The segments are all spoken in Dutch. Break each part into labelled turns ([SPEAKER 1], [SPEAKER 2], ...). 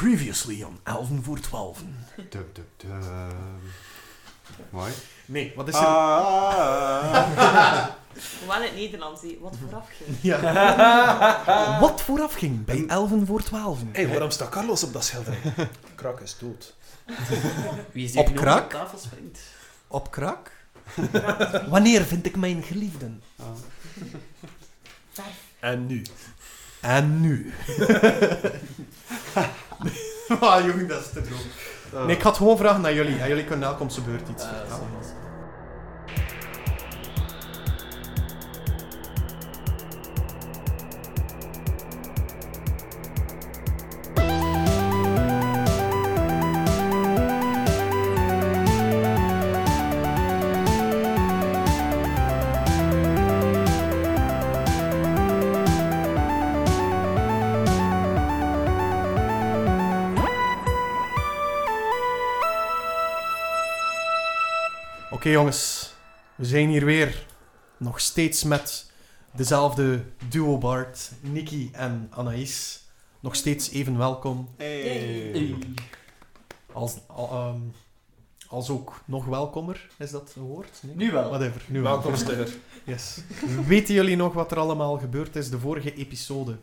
[SPEAKER 1] Previously on Elven voor 12.
[SPEAKER 2] Dum, dum, dum. Mooi.
[SPEAKER 1] Nee, wat is er?
[SPEAKER 2] Ah.
[SPEAKER 3] Hoewel in het Nederlands, die wat vooraf ging.
[SPEAKER 4] Ah.
[SPEAKER 1] Ja. wat vooraf ging bij Elven voor 12?
[SPEAKER 4] Hé, waarom staat Carlos op dat schilderij? Krak is dood.
[SPEAKER 5] Wie is
[SPEAKER 1] Op
[SPEAKER 5] die nu
[SPEAKER 1] krak?
[SPEAKER 5] op tafel springt?
[SPEAKER 1] Op krak? Wanneer vind ik mijn geliefden?
[SPEAKER 2] Ah.
[SPEAKER 4] En nu?
[SPEAKER 1] En nu?
[SPEAKER 2] Ah, jongen, dat is te droog. Ah.
[SPEAKER 4] Nee, ik ga het gewoon vragen naar jullie. En jullie kunnen elk om zijn beurt iets
[SPEAKER 5] Eh,
[SPEAKER 4] vertellen.
[SPEAKER 5] zoals-
[SPEAKER 4] Oké jongens, we zijn hier weer. Nog steeds met dezelfde duo Bart, Nikki en Anaïs. Nog steeds even welkom.
[SPEAKER 2] Hey.
[SPEAKER 4] Als, al- ehm, als ook nog welkomer, is dat een woord? Nee?
[SPEAKER 5] Nu wel.
[SPEAKER 4] Whatever, nu wel.
[SPEAKER 6] Welkom, Stiller.
[SPEAKER 4] Yes. Weten jullie nog wat er allemaal gebeurd is de vorige episode?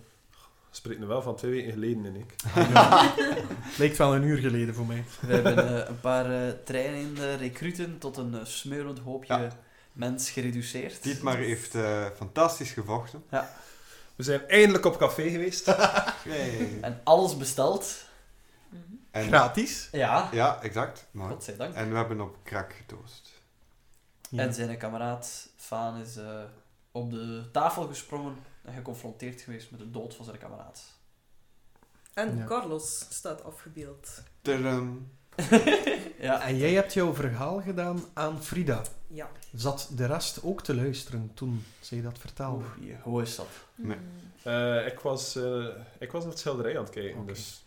[SPEAKER 6] Spreek nu wel van twee weken geleden, en ik.
[SPEAKER 4] Lijkt wel een uur geleden voor mij.
[SPEAKER 5] We hebben eh, een paar eh, trainende recruten tot een eh, smeulend hoopje
[SPEAKER 2] Ja.
[SPEAKER 5] mens gereduceerd.
[SPEAKER 2] Dietmar heeft eh, fantastisch gevochten.
[SPEAKER 6] We zijn eindelijk op café geweest.
[SPEAKER 2] Hey.
[SPEAKER 5] En alles besteld.
[SPEAKER 3] Mhm.
[SPEAKER 2] En-
[SPEAKER 4] Gratis.
[SPEAKER 5] Ja,
[SPEAKER 2] Ja, exact. Mooi.
[SPEAKER 5] godzijdank.
[SPEAKER 2] En we hebben op krak getoost.
[SPEAKER 4] Ja.
[SPEAKER 5] En zijn kameraad Faan is eh, op de tafel gesprongen en geconfronteerd geweest met de dood van zijn kameraad.
[SPEAKER 7] En
[SPEAKER 4] Ja.
[SPEAKER 7] Carlos staat afgebeeld.
[SPEAKER 2] Tudum.
[SPEAKER 5] Ja,
[SPEAKER 4] En jij hebt jouw verhaal gedaan aan Frida.
[SPEAKER 7] Ja.
[SPEAKER 4] Zat de rest ook te luisteren toen zij dat vertelde?
[SPEAKER 5] Oeh, je- hoe is dat?
[SPEAKER 2] Nee.
[SPEAKER 7] Hmm.
[SPEAKER 6] Eh, ik, was, eh, ik was naar het schilderij aan het kijken,
[SPEAKER 4] Oké.
[SPEAKER 6] dus...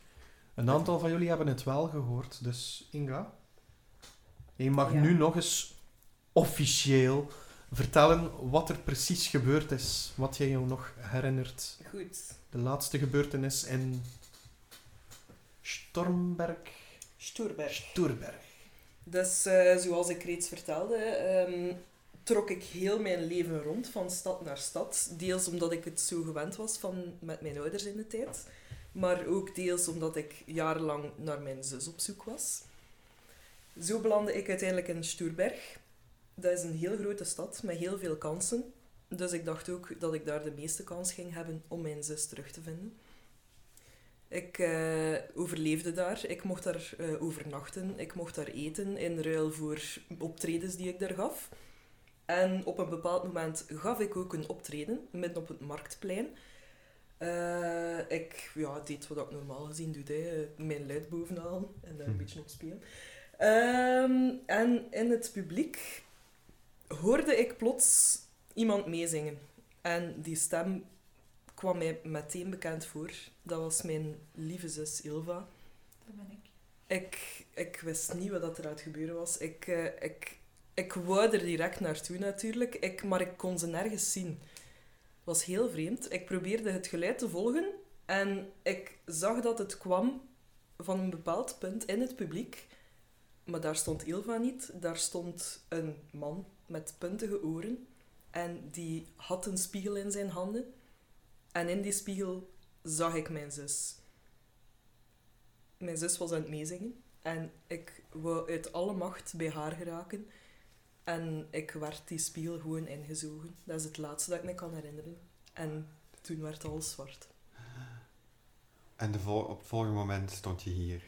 [SPEAKER 4] Een aantal van jullie hebben het wel gehoord, dus Inga, je mag
[SPEAKER 7] Ja.
[SPEAKER 4] nu nog eens officieel vertellen wat er precies gebeurd is, wat jij jou nog herinnert.
[SPEAKER 7] Goed.
[SPEAKER 4] De laatste gebeurtenis in Stormberg,
[SPEAKER 7] Stoerberg.
[SPEAKER 4] Stoerberg.
[SPEAKER 7] Dus eh, zoals ik reeds vertelde, ehm, trok ik heel mijn leven rond van stad naar stad. Deels omdat ik het zo gewend was van met mijn ouders in de tijd. Maar ook deels omdat ik jarenlang naar mijn zus op zoek was. Zo belandde ik uiteindelijk in Stoerberg. Dat is een heel grote stad met heel veel kansen. Dus ik dacht ook dat ik daar de meeste kans ging hebben om mijn zus terug te vinden. Ik eh, overleefde daar. Ik mocht daar eh, overnachten. Ik mocht daar eten in ruil voor optredens die ik daar gaf. En op een bepaald moment gaf ik ook een optreden, midden op het marktplein. Eh, ik ja, deed wat ik normaal gezien doe, hè. mijn luid bovenaan en daar een
[SPEAKER 2] Hm.
[SPEAKER 7] beetje op spelen. Ehm, en in het publiek hoorde ik plots iemand meezingen. En die stem kwam mij meteen bekend voor. Dat was mijn lieve zus Ilva.
[SPEAKER 3] Dat ben ik.
[SPEAKER 7] Ik, ik wist niet wat dat er aan het gebeuren was. Ik, eh, ik, ik wou er direct naartoe natuurlijk, ik, maar ik kon ze nergens zien. Het was heel vreemd. Ik probeerde het geluid te volgen en ik zag dat het kwam van een bepaald punt in het publiek. Maar daar stond Ilva niet. Daar stond een man met puntige oren en die had een spiegel in zijn handen. En in die spiegel zag ik mijn zus. Mijn zus was aan het meezingen en ik wou uit alle macht bij haar geraken. En ik werd die spiegel gewoon ingezogen. Dat is het laatste dat ik me kan herinneren. En toen werd alles zwart.
[SPEAKER 2] En de vol- op het volgende moment stond je hier.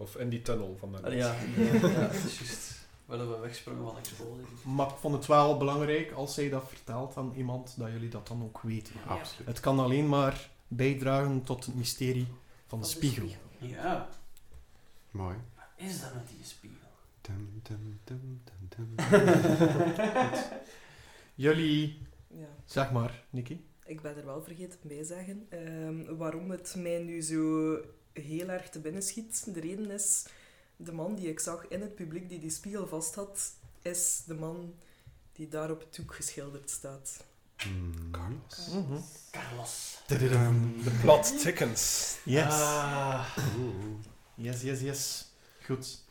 [SPEAKER 6] Of in die tunnel van de
[SPEAKER 5] Ah, ja, ja, ja, dat is juist. Waardoor we wegsprongen van explosie.
[SPEAKER 4] Maar ik vond het wel belangrijk als zij dat vertelt aan iemand, dat jullie dat dan ook weten.
[SPEAKER 7] Ja.
[SPEAKER 2] Absoluut.
[SPEAKER 4] Het kan alleen maar bijdragen tot het mysterie van de
[SPEAKER 7] Van de
[SPEAKER 4] spiegel.
[SPEAKER 7] spiegel.
[SPEAKER 5] Ja,
[SPEAKER 2] Mooi.
[SPEAKER 5] wat is dat met die spiegel?
[SPEAKER 2] Dum, dum, dum, dum, dum.
[SPEAKER 4] Jullie,
[SPEAKER 7] Ja.
[SPEAKER 4] zeg maar, Nicky.
[SPEAKER 7] Ik ben er wel vergeten bij te zeggen ehm, waarom het mij nu zo heel erg te binnen schiet. De reden is, de man die ik zag in het publiek die die spiegel vast had, is de man die daar op het doek geschilderd staat.
[SPEAKER 2] Hmm.
[SPEAKER 6] Carlos.
[SPEAKER 4] Mhm.
[SPEAKER 7] Carlos.
[SPEAKER 4] Tududum.
[SPEAKER 6] De plot tickens.
[SPEAKER 4] Yes.
[SPEAKER 7] Ah.
[SPEAKER 2] Oeh.
[SPEAKER 4] Yes, yes, yes. Goed.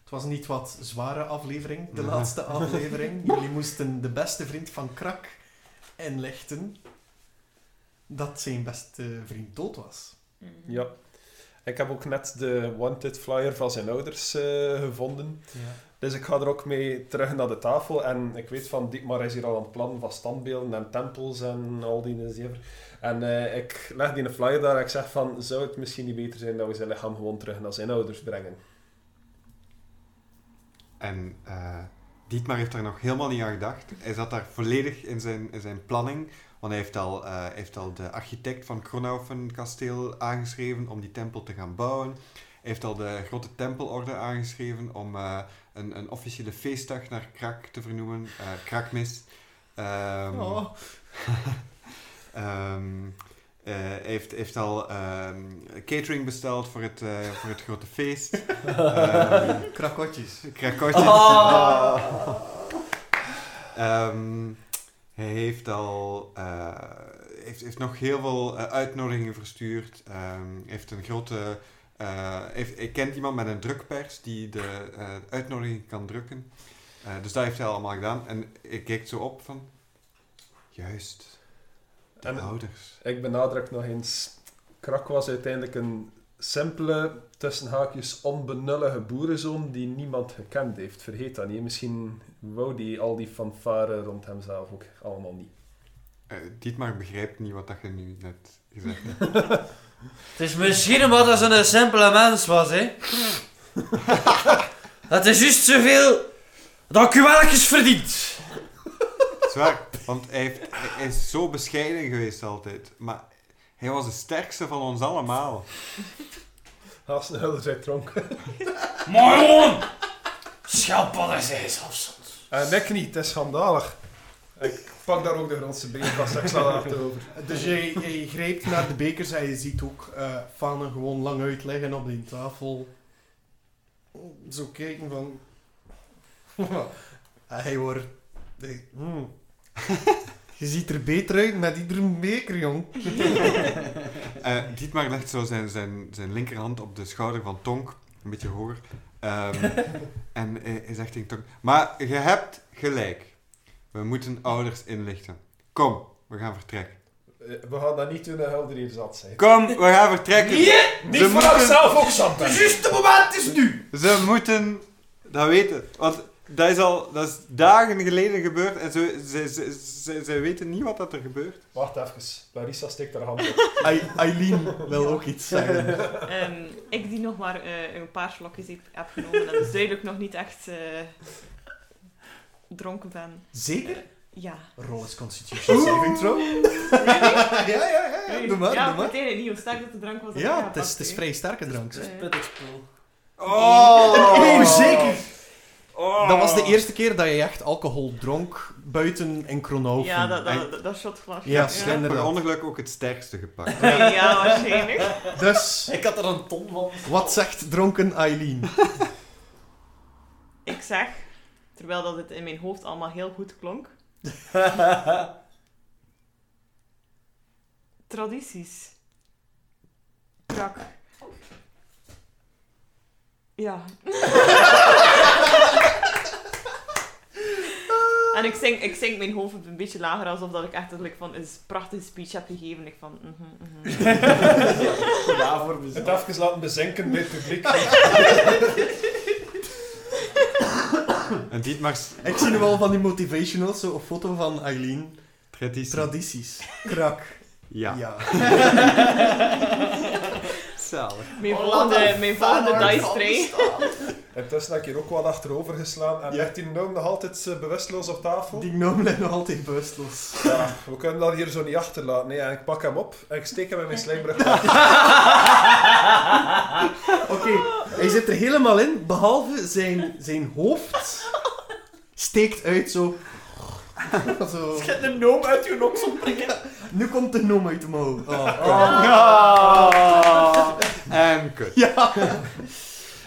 [SPEAKER 4] Het was niet wat zware aflevering, de
[SPEAKER 2] Mhm.
[SPEAKER 4] laatste aflevering. Jullie moesten de beste vriend van Krak inlichten dat zijn beste vriend dood was.
[SPEAKER 8] Mhm.
[SPEAKER 6] Ja. Ik heb ook net de wanted flyer van zijn ouders eh, gevonden. Dus ik ga er ook mee terug naar de tafel. En ik weet van Dietmar is hier al aan het plannen van standbeelden en tempels en al die zever. En eh, ik leg die flyer daar en ik zeg van, zou het misschien niet beter zijn dat we zijn lichaam gewoon terug naar zijn ouders brengen?
[SPEAKER 2] En eh, Dietmar heeft daar nog helemaal niet aan gedacht. Hij zat daar volledig in zijn, in zijn planning. Want hij heeft al, eh, hij heeft al de architect van Kronaufen kasteel aangeschreven om die tempel te gaan bouwen. Hij heeft al de grote tempelorde aangeschreven om eh, een, een officiële feestdag naar Krak te vernoemen. eh Krakmis. Ehm,
[SPEAKER 4] Oh.
[SPEAKER 2] Ehm, eh, heeft, heeft al ehm, catering besteld voor het, eh, voor het grote feest. Ehm,
[SPEAKER 4] Krakotjes.
[SPEAKER 2] Krakotjes.
[SPEAKER 7] Ah.
[SPEAKER 2] Ehm, hij heeft al eh, heeft, heeft nog heel veel eh, uitnodigingen verstuurd. Ehm, heeft een grote. eh, heeft, hij kent iemand met een drukpers die de eh, uitnodiging kan drukken. Eh, dus dat heeft hij allemaal gedaan. En ik keek zo op van. Juist, de
[SPEAKER 6] En
[SPEAKER 2] ouders.
[SPEAKER 6] ik benadruk nog eens, Krak was uiteindelijk een simpele, tussen haakjes onbenullige boerenzoon die niemand gekend heeft. Vergeet dat niet. Misschien wou die al die fanfare rond hemzelf ook allemaal niet.
[SPEAKER 2] Eh, Dietmar begrijpt niet wat dat je nu net gezegd hebt.
[SPEAKER 7] Het is misschien omdat dat zo'n simpele mens was, hè. dat is juist zoveel dat ik u wel eens verdient.
[SPEAKER 2] Zwaar, want hij, heeft, hij is zo bescheiden geweest altijd. Maar hij was de sterkste van ons allemaal.
[SPEAKER 6] Haast een zijn dronken.
[SPEAKER 7] Maar gewoon, schelpadden zijn ze afstand.
[SPEAKER 6] En ik niet, Eh, het is schandalig. Ik pak daar ook de grootste beenkast, ik sta daar achterover.
[SPEAKER 4] Dus jij, jij grijpt naar de bekers en je ziet ook eh Fane gewoon lang uitleggen op die tafel. Zo kijken van... Hij wordt... hij- hmm. Je ziet er beter uit met iedere beker, jong.
[SPEAKER 2] Eh, Dietmar legt zo zijn, zijn, zijn linkerhand op de schouder van Tonk. Een beetje hoger. Ehm, en hij, hij zegt tegen Tonk... Maar je hebt gelijk. We moeten ouders inlichten. Kom, we gaan vertrekken.
[SPEAKER 6] Eh, We gaan dat niet doen, helder hier zat zijn.
[SPEAKER 2] Kom, we gaan vertrekken.
[SPEAKER 6] Niet
[SPEAKER 2] Ze
[SPEAKER 6] voor
[SPEAKER 2] moeten-
[SPEAKER 6] zelf ook zat ben.
[SPEAKER 7] Juiste moment is nu.
[SPEAKER 2] Ze moeten dat weten. Want dat is al dat is dagen geleden gebeurd. En ze, ze, ze, ze, ze weten niet wat dat er gebeurt.
[SPEAKER 6] Wacht even, Larissa steekt haar hand op.
[SPEAKER 4] Ai- Eileen wil ook iets zeggen.
[SPEAKER 8] Ehm, ik die nog maar eh, een paar slokjes heb, heb genomen en dus duidelijk nog niet echt eh, dronken ben.
[SPEAKER 4] Zeker?
[SPEAKER 8] Ja.
[SPEAKER 4] Roll is Constitution saving throw. ja, ja, ja, ja. Doe maar,
[SPEAKER 8] ja,
[SPEAKER 4] doe maar.
[SPEAKER 8] ik weet eigenlijk niet hoe sterk dat de drank was. dat ik
[SPEAKER 4] Ja, het
[SPEAKER 8] gepakt
[SPEAKER 4] is, het is
[SPEAKER 8] heb.
[SPEAKER 4] vrij sterke drank.
[SPEAKER 8] Eh,
[SPEAKER 7] Pittig spul.
[SPEAKER 4] Oh, zeker!
[SPEAKER 2] Oh.
[SPEAKER 4] Dat was de eerste keer dat je echt alcohol dronk buiten in Kronhoven.
[SPEAKER 8] ja, dat, dat, dat, dat shotglas.
[SPEAKER 4] Ja,
[SPEAKER 2] Ik heb
[SPEAKER 4] slim.
[SPEAKER 2] per
[SPEAKER 4] inderdaad.
[SPEAKER 2] ongeluk ook het sterkste gepakt.
[SPEAKER 8] Ja, ja, waarschijnlijk.
[SPEAKER 4] Dus,
[SPEAKER 7] Ik had er een ton van.
[SPEAKER 4] wat zegt dronken Eileen?
[SPEAKER 8] Ik zeg, terwijl dat het in mijn hoofd allemaal heel goed klonk, tradities. Krak. Ja. en ik zing, ik zing mijn hoofd een beetje lager, alsof dat ik echt eigenlijk van een prachtige speech heb gegeven. Ik van, mhm, mhm.
[SPEAKER 7] ja, voor
[SPEAKER 6] Het
[SPEAKER 7] mezelf.
[SPEAKER 6] even laten bezinken bij het publiek.
[SPEAKER 2] En Dietmar s-
[SPEAKER 4] Ik zie nu al van die motivationals, zo een foto van Eileen.
[SPEAKER 2] traditie.
[SPEAKER 4] Tradities. Krak.
[SPEAKER 2] ja.
[SPEAKER 4] ja.
[SPEAKER 2] Zalig.
[SPEAKER 8] Mijn
[SPEAKER 7] Oh,
[SPEAKER 8] volgende, mijn volgende dice tray.
[SPEAKER 6] Intussen heb ik hier ook wat achterover geslaan en
[SPEAKER 4] Ja.
[SPEAKER 6] ligt die gnome nog altijd eh, bewusteloos op tafel.
[SPEAKER 4] Die gnome lijkt nog altijd bewusteloos.
[SPEAKER 6] Ja, we kunnen dat hier zo niet achterlaten. Nee, en ik pak hem op en ik steek hem in mijn slijmbrug.
[SPEAKER 4] Oké, hij zit er helemaal in, behalve zijn, zijn hoofd steekt uit zo. zo.
[SPEAKER 7] Ik heb de noom uit je noksel
[SPEAKER 4] Nu komt de noem uit de mouw. Oh, oh.
[SPEAKER 2] Oh. En kut.
[SPEAKER 4] Ja.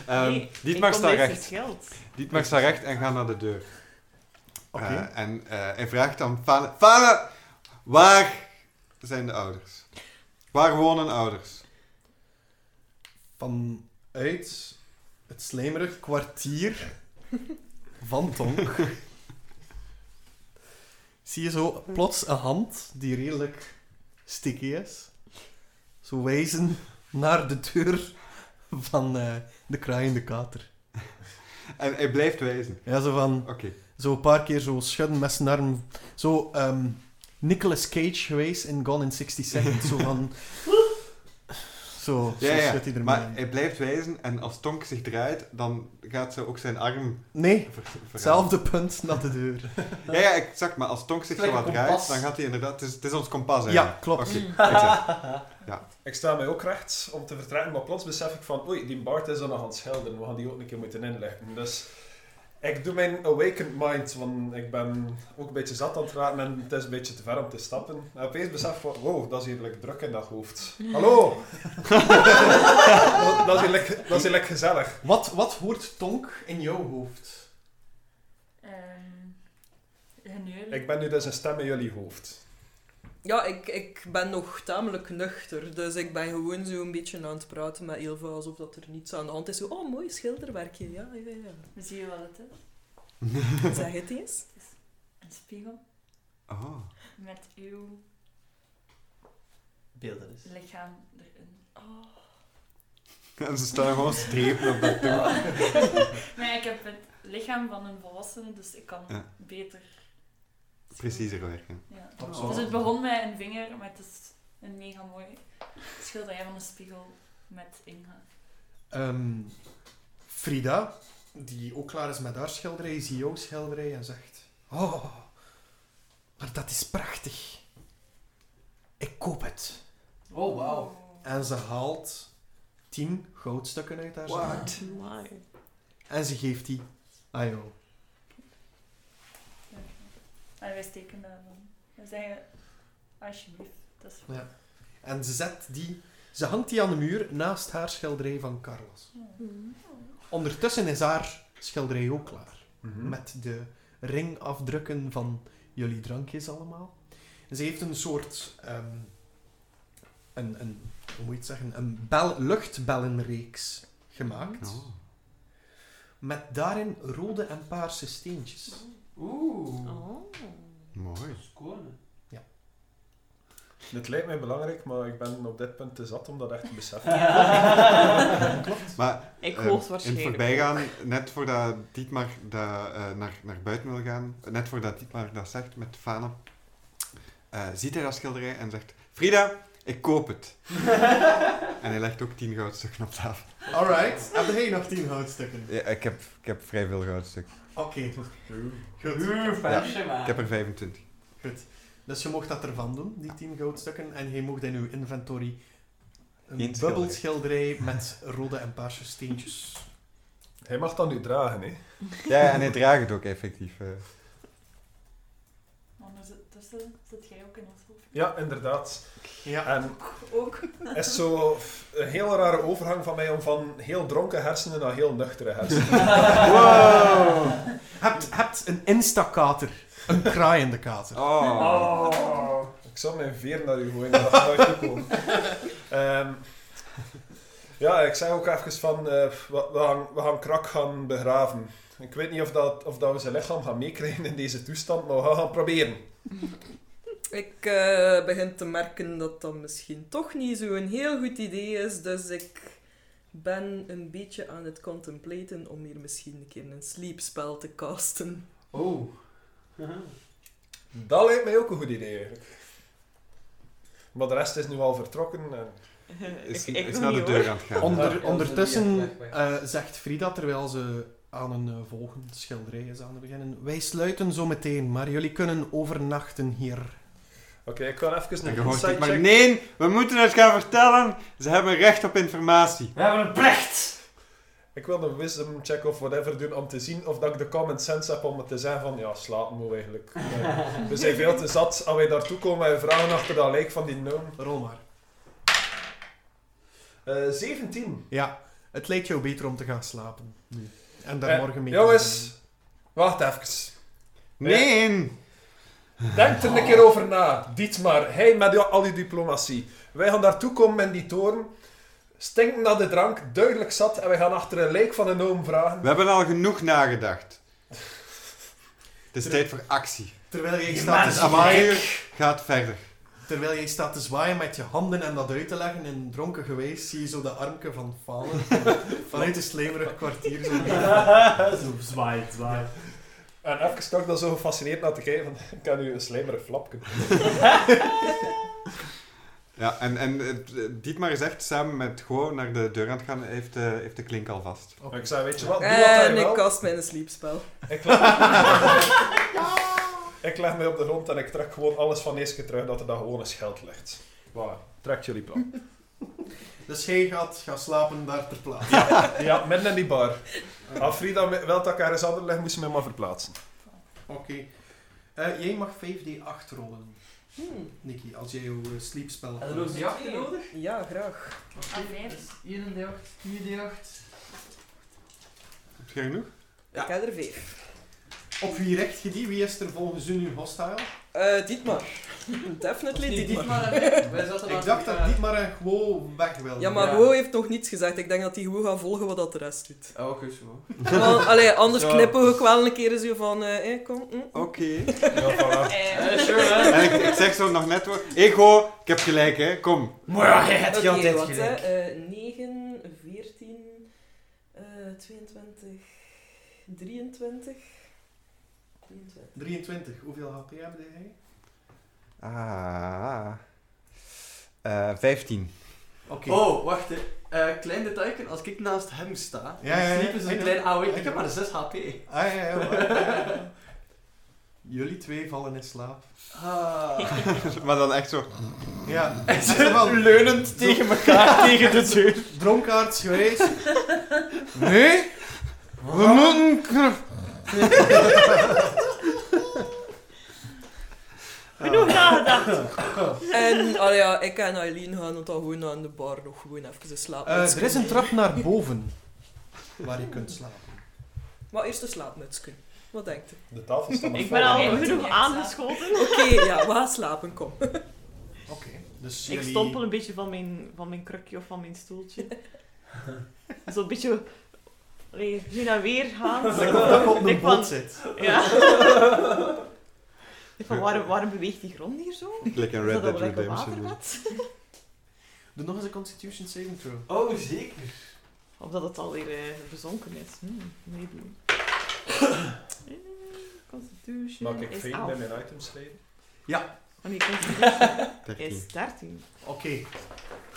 [SPEAKER 2] Ehm,
[SPEAKER 8] Nee,
[SPEAKER 2] Dietmar
[SPEAKER 8] ik kom
[SPEAKER 2] staat
[SPEAKER 8] deze
[SPEAKER 2] recht.
[SPEAKER 8] schild.
[SPEAKER 2] Dietmar staat recht en gaat naar de deur.
[SPEAKER 4] Oké.
[SPEAKER 2] Eh, en eh, hij vraagt dan Fane... Fane, Waar zijn de ouders? Waar wonen ouders?
[SPEAKER 4] Vanuit het slijmerig kwartier van Tonk zie je zo plots een hand die redelijk sticky is. Zo wijzen naar de deur van eh, de kraaiende kater.
[SPEAKER 2] En hij blijft wijzen.
[SPEAKER 4] Ja, zo van...
[SPEAKER 2] Oké.
[SPEAKER 4] Zo een paar keer zo schudden met zijn arm. Zo ehm Nicolas Cage geweest in Gone in 60 Seconds. Zo van... Zo, zo
[SPEAKER 2] Ja, ja,
[SPEAKER 4] schudt hij ermee.
[SPEAKER 2] maar hij blijft wijzen en als Tonk zich draait, dan gaat ze ook zijn arm
[SPEAKER 4] Nee,
[SPEAKER 2] ver verhalen.
[SPEAKER 4] hetzelfde punt naar de deur.
[SPEAKER 2] Ja, ja, exact. Maar als Tonk zich
[SPEAKER 7] Het
[SPEAKER 2] zo
[SPEAKER 7] is
[SPEAKER 2] wat
[SPEAKER 7] like een
[SPEAKER 2] draait,
[SPEAKER 7] kompas.
[SPEAKER 2] dan gaat hij inderdaad... Het is, het is ons kompas,
[SPEAKER 4] Ja,
[SPEAKER 2] eigenlijk.
[SPEAKER 4] klopt.
[SPEAKER 9] Mm.
[SPEAKER 2] Oké, exact.
[SPEAKER 6] Ik sta mij ook rechts om te vertrekken, maar plots besef ik van, oei, die Bart is dan nog aan het schilderen. We gaan die ook een keer moeten inleggen. Dus ik doe mijn awakened mind, want ik ben ook een beetje zat aan het raken en het is een beetje te ver om te stappen. En opeens besef ik van, wow, dat is hier like, druk in dat hoofd. Hallo! dat is hier, like, dat is hier like, gezellig.
[SPEAKER 4] Wat, wat hoort Tonk in jouw hoofd?
[SPEAKER 6] Ik ben nu dus een stem in jullie hoofd.
[SPEAKER 10] Ja, ik, ik ben nog tamelijk nuchter, dus ik ben gewoon zo een beetje aan het praten met Ilva, alsof dat er niets aan de hand is. Zo, oh, mooi schilderwerkje, ja, ja, ja.
[SPEAKER 9] Zie je wat het is?
[SPEAKER 10] Zeg het eens.
[SPEAKER 9] Een spiegel
[SPEAKER 2] Oh.
[SPEAKER 9] met uw
[SPEAKER 7] Beelden dus. is.
[SPEAKER 9] lichaam erin. Oh.
[SPEAKER 2] En ze staan gewoon strepen op dat ding.
[SPEAKER 9] Maar ik heb het lichaam van een volwassene, dus ik kan
[SPEAKER 2] Ja.
[SPEAKER 9] beter. zien.
[SPEAKER 2] Preciezer werken.
[SPEAKER 9] Ja.
[SPEAKER 7] Absoluut.
[SPEAKER 9] Dus het begon met een vinger, maar het is een mega mooi schilderij van een spiegel met Inga.
[SPEAKER 4] Ehm, Frida, die ook klaar is met haar schilderij, ziet jouw schilderij en zegt... Oh, maar dat is prachtig. Ik koop het.
[SPEAKER 7] Oh, wauw.
[SPEAKER 4] En ze haalt tien goudstukken uit haar zak.
[SPEAKER 2] What?
[SPEAKER 8] Why?
[SPEAKER 4] En ze geeft die aan jou.
[SPEAKER 9] Dank je. En wij steken daarvan. We zeggen, alsjeblieft. Dat is...
[SPEAKER 4] En ze zet die... Ze hangt die aan de muur naast haar schilderij van Carlos. Ondertussen is haar schilderij ook klaar.
[SPEAKER 2] Hm.
[SPEAKER 6] Mhm.
[SPEAKER 4] Met de ringafdrukken van jullie drankjes allemaal. En ze heeft een soort... ehm, een, een, hoe moet je het zeggen? Een bel, luchtbellenreeks gemaakt.
[SPEAKER 2] Oh.
[SPEAKER 4] Met daarin rode en paarse steentjes.
[SPEAKER 7] Oeh.
[SPEAKER 8] Oh.
[SPEAKER 2] Mooi.
[SPEAKER 7] Scoren.
[SPEAKER 6] Dit lijkt mij belangrijk, maar ik ben op dit punt te zat om dat echt te beseffen.
[SPEAKER 2] Maar
[SPEAKER 8] Ik
[SPEAKER 2] eh,
[SPEAKER 8] hoor het
[SPEAKER 2] in het
[SPEAKER 8] waarschijnlijk.
[SPEAKER 2] voorbijgaan, net voordat Dietmar dat, eh, naar, naar buiten wil gaan, net voordat Dietmar dat zegt met Fane, eh, ziet hij dat schilderij en zegt, Frida, ik koop het. en hij legt ook tien goudstukken op tafel.
[SPEAKER 4] Alright, heb jij nog tien houtstukken?
[SPEAKER 2] Ja, ik, heb, ik heb vrij veel goudstukken.
[SPEAKER 4] Oké, goed.
[SPEAKER 7] Oeh, feestje, man.
[SPEAKER 2] Ik heb er 25.
[SPEAKER 4] Dus je mocht dat ervan doen, die 10 goudstukken. En je mocht in uw inventory een
[SPEAKER 2] Eén schilderij.
[SPEAKER 4] bubbelschilderij met rode en paarse steentjes.
[SPEAKER 6] Hij mag dat nu dragen, hè.
[SPEAKER 2] Ja, en hij draagt het ook effectief. eh.
[SPEAKER 9] Anders tussen zit jij ook in ons hoofd.
[SPEAKER 6] Ja, inderdaad.
[SPEAKER 4] Ja.
[SPEAKER 6] En
[SPEAKER 9] Ook.
[SPEAKER 6] is zo een heel rare overgang van mij om van heel dronken hersenen naar heel nuchtere hersenen.
[SPEAKER 4] Wow! hebt, hebt een instakater. Een kraaiende kater.
[SPEAKER 2] Oh.
[SPEAKER 6] Ik zal mijn veer naar u gooien, maar dat gaat nooit goed komen. Ehm, ja, ik zei ook even van, eh, we, we gaan, we gaan Krak gaan begraven. Ik weet niet of, dat, of dat we zijn lichaam gaan meekrijgen in deze toestand, maar we gaan, gaan proberen.
[SPEAKER 10] Ik eh, begin te merken dat dat misschien toch niet zo'n heel goed idee is, dus ik ben een beetje aan het contemplaten om hier misschien een keer een sleepspel te casten.
[SPEAKER 7] Oeh.
[SPEAKER 6] Dat lijkt mij ook een goed idee, eigenlijk. Maar de rest is nu al vertrokken. En...
[SPEAKER 2] Is,
[SPEAKER 8] ik ik
[SPEAKER 2] is
[SPEAKER 8] nog
[SPEAKER 2] naar de
[SPEAKER 8] niet,
[SPEAKER 2] deur
[SPEAKER 8] hoor.
[SPEAKER 2] aan het gaan.
[SPEAKER 4] Onder,
[SPEAKER 7] Ja, ja,
[SPEAKER 4] ondertussen
[SPEAKER 7] weg, weg.
[SPEAKER 4] eh, zegt Frida, terwijl ze aan een eh, volgende schilderij is aan het beginnen. Wij sluiten zo meteen, maar jullie kunnen overnachten hier.
[SPEAKER 6] Oké, ik kan even
[SPEAKER 2] En
[SPEAKER 6] een
[SPEAKER 2] je hoort
[SPEAKER 6] insight
[SPEAKER 2] Dietmar,
[SPEAKER 6] check.
[SPEAKER 2] nee, we moeten het gaan vertellen. Ze hebben recht op informatie.
[SPEAKER 7] We hebben een plecht!
[SPEAKER 6] Ik wil een wisdom check of whatever doen om te zien of dat ik de common sense heb om het te zeggen van ja, slaap moe eigenlijk. Eh, we zijn veel te zat als wij daartoe komen en vragen achter dat lijk van die gnome.
[SPEAKER 4] Rol maar.
[SPEAKER 6] Eh 17.
[SPEAKER 4] Ja, het lijkt jou beter om te gaan slapen.
[SPEAKER 2] Nee.
[SPEAKER 4] En daar
[SPEAKER 6] Eh,
[SPEAKER 4] morgen mee te
[SPEAKER 6] Jongens, wacht even.
[SPEAKER 2] Nee!
[SPEAKER 6] Denk er een keer over na. Dietmar, hij met jou- al die diplomatie. Wij gaan daartoe komen in die toren. Stinken naar de drank, duidelijk zat. En wij gaan achter een lijk van een oom vragen.
[SPEAKER 2] We hebben al genoeg nagedacht. Het is tijd voor actie.
[SPEAKER 4] Terwijl jij staat te
[SPEAKER 2] Dus
[SPEAKER 4] zwaaien...
[SPEAKER 2] avontuur gaat verder.
[SPEAKER 4] Terwijl jij staat te zwaaien met je handen en dat uit te leggen in dronken geweest, zie je zo de armke van Falen vanuit het slemerig kwartier. Zo
[SPEAKER 11] Zo zwaait, zwaait.
[SPEAKER 6] En even stond ik dan zo gefascineerd naar te kijken. Van, ik heb nu een slijmerig flapje.
[SPEAKER 2] Ja, en, en eh, Dietmar is echt samen met Go naar de deur aan het gaan. Hij heeft, eh, heeft de klink al vast.
[SPEAKER 6] Maar ik zei, weet je wat, doe wat hij
[SPEAKER 10] En ik
[SPEAKER 6] wil.
[SPEAKER 10] kast mijn sleepspel.
[SPEAKER 6] Ik leg... ik leg mij op de grond en ik trek gewoon alles van deze keer terug dat er dan gewoon een scheld ligt. Waar? Trek jullie plan.
[SPEAKER 4] Dus jij gaat gaan slapen daar ter plaatse.
[SPEAKER 6] Ja, midden in die bar. Afrida me- wil dat ik ergens anders leg, moest ze mij maar verplaatsen.
[SPEAKER 4] Oké. Eh, jij mag 5d8 rollen,
[SPEAKER 10] Hmm,
[SPEAKER 4] Nicky, als jij jouw eh, sleepspel...
[SPEAKER 7] En er is die achter nodig.
[SPEAKER 10] ja, graag.
[SPEAKER 7] Ah, vijf. 1 D8, 4 D8.
[SPEAKER 2] Heb je genoeg?
[SPEAKER 7] Ja.
[SPEAKER 10] Ik heb er vijf.
[SPEAKER 4] Op wie recht je die? Wie is er volgens u nu hostile?
[SPEAKER 10] Eh Dietmar. Definitely
[SPEAKER 7] Die
[SPEAKER 10] Dietmar.
[SPEAKER 7] Dietmar en ik, eh, wij zaten daar
[SPEAKER 4] ik dacht
[SPEAKER 7] niet
[SPEAKER 4] dat
[SPEAKER 7] aan.
[SPEAKER 4] Dietmar en gewoon weg wilden.
[SPEAKER 10] Ja, maar
[SPEAKER 7] Ja.
[SPEAKER 10] Wo heeft nog niets gezegd. Ik denk dat hij gewoon gaat volgen wat dat de rest doet.
[SPEAKER 7] Oh, oké, zo.
[SPEAKER 10] Want, allee, anders
[SPEAKER 7] Ja.
[SPEAKER 10] knippen we ook wel een keer zo van... eh, eh, kom, mm, mm.
[SPEAKER 2] Oké.
[SPEAKER 6] Ja, voilà.
[SPEAKER 7] Eh,
[SPEAKER 9] Eh,
[SPEAKER 7] sure, hè.
[SPEAKER 2] En ik, ik zeg zo nog net wat. Ik Go, ik heb gelijk hè, kom.
[SPEAKER 7] Maar ja, jij hebt
[SPEAKER 10] Oké,
[SPEAKER 7] je altijd
[SPEAKER 10] wat,
[SPEAKER 7] gelijk.
[SPEAKER 10] hè? Eh, 9, 14, eh, 22, 23. 23.
[SPEAKER 4] 23. Hoeveel HP hebben jij?
[SPEAKER 2] Ah. Eh 15.
[SPEAKER 4] Oké.
[SPEAKER 7] Oh, wacht hè. Eh, klein detail, als ik naast hem sta,
[SPEAKER 4] Ja, ja, ja.
[SPEAKER 7] sleep is
[SPEAKER 4] Ik
[SPEAKER 7] een
[SPEAKER 4] ook.
[SPEAKER 7] klein AOE.
[SPEAKER 4] Ik
[SPEAKER 7] Ik heb
[SPEAKER 4] ook.
[SPEAKER 7] maar 6 HP.
[SPEAKER 4] Ah, ja, ja, maar- ja, ja. Jullie twee vallen in slaap.
[SPEAKER 7] Ah.
[SPEAKER 2] maar dan echt zo.
[SPEAKER 4] Ja.
[SPEAKER 7] En
[SPEAKER 4] Echt wel.
[SPEAKER 7] ze leunend tegen elkaar, tegen de deur.
[SPEAKER 4] Dronkaards geweest. Nee? We moeten... kn-
[SPEAKER 8] Genoeg nagedacht.
[SPEAKER 10] En allee, ja, ik en Eileen gaan het dan gewoon aan de bar nog gewoon even slapen.
[SPEAKER 4] Eh, er is een trap naar boven. Waar je kunt slapen.
[SPEAKER 10] Maar eerst de slaapmuts kunnen. Wat denkt u?
[SPEAKER 6] De tafel staat nog
[SPEAKER 8] Ik
[SPEAKER 6] vol.
[SPEAKER 8] ben al
[SPEAKER 9] Volgende.
[SPEAKER 8] genoeg aangeschoten.
[SPEAKER 10] Oké, ja, we gaan slapen, kom.
[SPEAKER 4] Oké. Dus
[SPEAKER 8] Ik
[SPEAKER 4] jullie...
[SPEAKER 8] stompel een beetje van mijn, van mijn krukje of van mijn stoeltje. Zo'n beetje... Allee, heen en weer gaan.
[SPEAKER 4] Dat ik op- dat ik op
[SPEAKER 8] Ik
[SPEAKER 4] een
[SPEAKER 8] van-
[SPEAKER 4] bot zit.
[SPEAKER 8] Ja. Ik van, waarom, waarom beweegt die grond hier zo?
[SPEAKER 2] Like een
[SPEAKER 8] Is
[SPEAKER 2] Red
[SPEAKER 8] dat
[SPEAKER 2] Dead
[SPEAKER 8] al gelijk een
[SPEAKER 2] Redemption.
[SPEAKER 8] waterbed?
[SPEAKER 4] Doe nog eens een Constitution saving throw.
[SPEAKER 7] Oh, zeker.
[SPEAKER 8] Of dat het alweer eh, bezonken is. Hmm, nee, doen. Eh, Constitution
[SPEAKER 6] Maak ik
[SPEAKER 8] is
[SPEAKER 6] veen
[SPEAKER 8] 11.
[SPEAKER 6] bij mijn items schrijven?
[SPEAKER 8] Oh nee, Constitution
[SPEAKER 2] 13.
[SPEAKER 8] is 13.
[SPEAKER 4] Oké. Je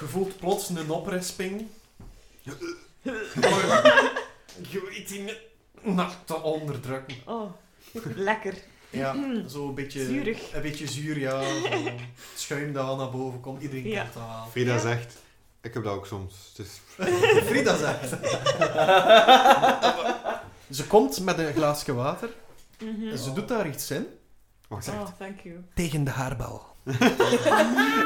[SPEAKER 4] voelt plots een oprisping. je weet die niet... Nou, te onderdrukken.
[SPEAKER 8] Oh, lekker.
[SPEAKER 4] Ja, zo een beetje...
[SPEAKER 8] Zuurig.
[SPEAKER 4] Een beetje zuur, ja. Zo Schuim dat wel naar boven komt. Iedereen
[SPEAKER 8] Ja.
[SPEAKER 4] komt dat wel.
[SPEAKER 2] Frida
[SPEAKER 8] Ja.
[SPEAKER 2] zegt. Ik heb dat ook soms. Dus
[SPEAKER 4] Frida zegt. ze komt met een glaasje water.
[SPEAKER 8] Mhm.
[SPEAKER 4] en Ze doet daar iets in.
[SPEAKER 2] wacht even.
[SPEAKER 8] Oh, thank you.
[SPEAKER 4] Tegen de haarbel.
[SPEAKER 2] En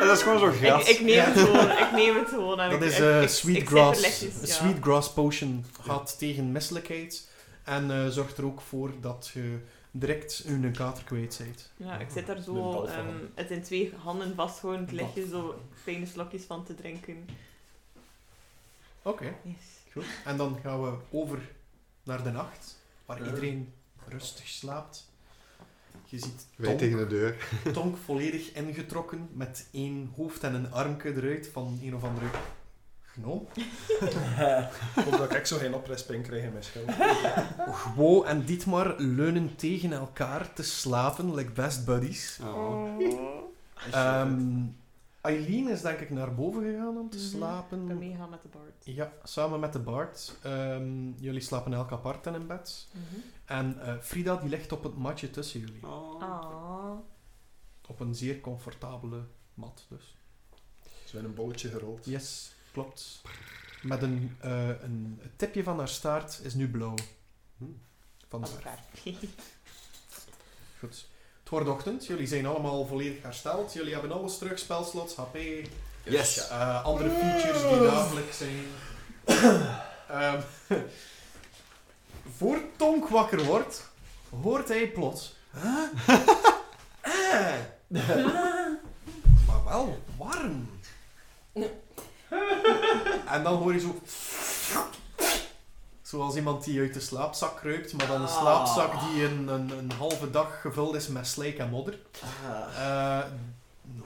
[SPEAKER 2] dat is gewoon zo
[SPEAKER 8] Ik,
[SPEAKER 2] gras.
[SPEAKER 8] ik neem
[SPEAKER 4] Ja.
[SPEAKER 8] het gewoon. Ik neem het gewoon. En
[SPEAKER 4] Dat
[SPEAKER 8] ik-
[SPEAKER 4] is
[SPEAKER 8] ik-
[SPEAKER 4] eh
[SPEAKER 8] ik- ik
[SPEAKER 4] sweet,
[SPEAKER 8] zip er
[SPEAKER 4] grass,
[SPEAKER 8] lichtjes,
[SPEAKER 4] een
[SPEAKER 8] ja.
[SPEAKER 4] sweet grass potion. Gaat tegen misselijkheid. En eh, zorgt er ook voor dat je direct een kater kwijt bent.
[SPEAKER 8] Ja, ik zit daar
[SPEAKER 6] Een bal
[SPEAKER 8] zo
[SPEAKER 6] van
[SPEAKER 8] ehm,
[SPEAKER 6] hem.
[SPEAKER 8] het in twee handen vast, gewoon het lichtje zo fijne slokjes van te drinken.
[SPEAKER 4] Oké,
[SPEAKER 8] Yes.
[SPEAKER 4] goed. En dan gaan we over naar de nacht. Waar
[SPEAKER 7] Ja.
[SPEAKER 4] iedereen rustig slaapt. Je ziet
[SPEAKER 2] Wij
[SPEAKER 4] Tom-
[SPEAKER 2] tegen de deur.
[SPEAKER 4] Tonk volledig ingetrokken met één hoofd en een armke eruit van een of andere gnoom.
[SPEAKER 6] Ik hoop dat ik zo geen oprisping krijg in mijn schild.
[SPEAKER 8] Ah.
[SPEAKER 4] Gwo en Dietmar leunen tegen elkaar te slapen, like best buddies.
[SPEAKER 2] Oh.
[SPEAKER 4] Ehm, Eileen is denk ik naar boven gegaan om te
[SPEAKER 8] Mhm.
[SPEAKER 4] slapen.
[SPEAKER 8] Ik kan meegaan met de Bart.
[SPEAKER 4] Ja, samen met de Bart. Ehm, jullie slapen elk apart in bed. En eh, Frida die ligt op het matje tussen jullie.
[SPEAKER 8] Ah.
[SPEAKER 4] Op een zeer comfortabele mat dus.
[SPEAKER 6] Ze zijn een bolletje gerold.
[SPEAKER 4] Yes, klopt. Met een, eh, een het tipje van haar staart is nu blauw.
[SPEAKER 2] Hmm.
[SPEAKER 4] Van de
[SPEAKER 8] Als
[SPEAKER 4] verf.
[SPEAKER 8] ver.
[SPEAKER 4] Goed. Het wordt ochtend. Jullie zijn allemaal volledig hersteld. Jullie hebben alles terug. Spelslots, HP,
[SPEAKER 2] Yes.
[SPEAKER 4] eh, andere features die dagelijks zijn. Ehm, voor Tonk wakker wordt, hoort hij plots... Huh? Eh. maar wel warm. en dan hoor je zo... Zoals iemand die uit de slaapzak kruipt, maar dan een
[SPEAKER 7] Ah.
[SPEAKER 4] slaapzak die een, een, een halve dag gevuld is met slijk en modder.
[SPEAKER 10] Oh.
[SPEAKER 7] Ah.
[SPEAKER 4] Eh,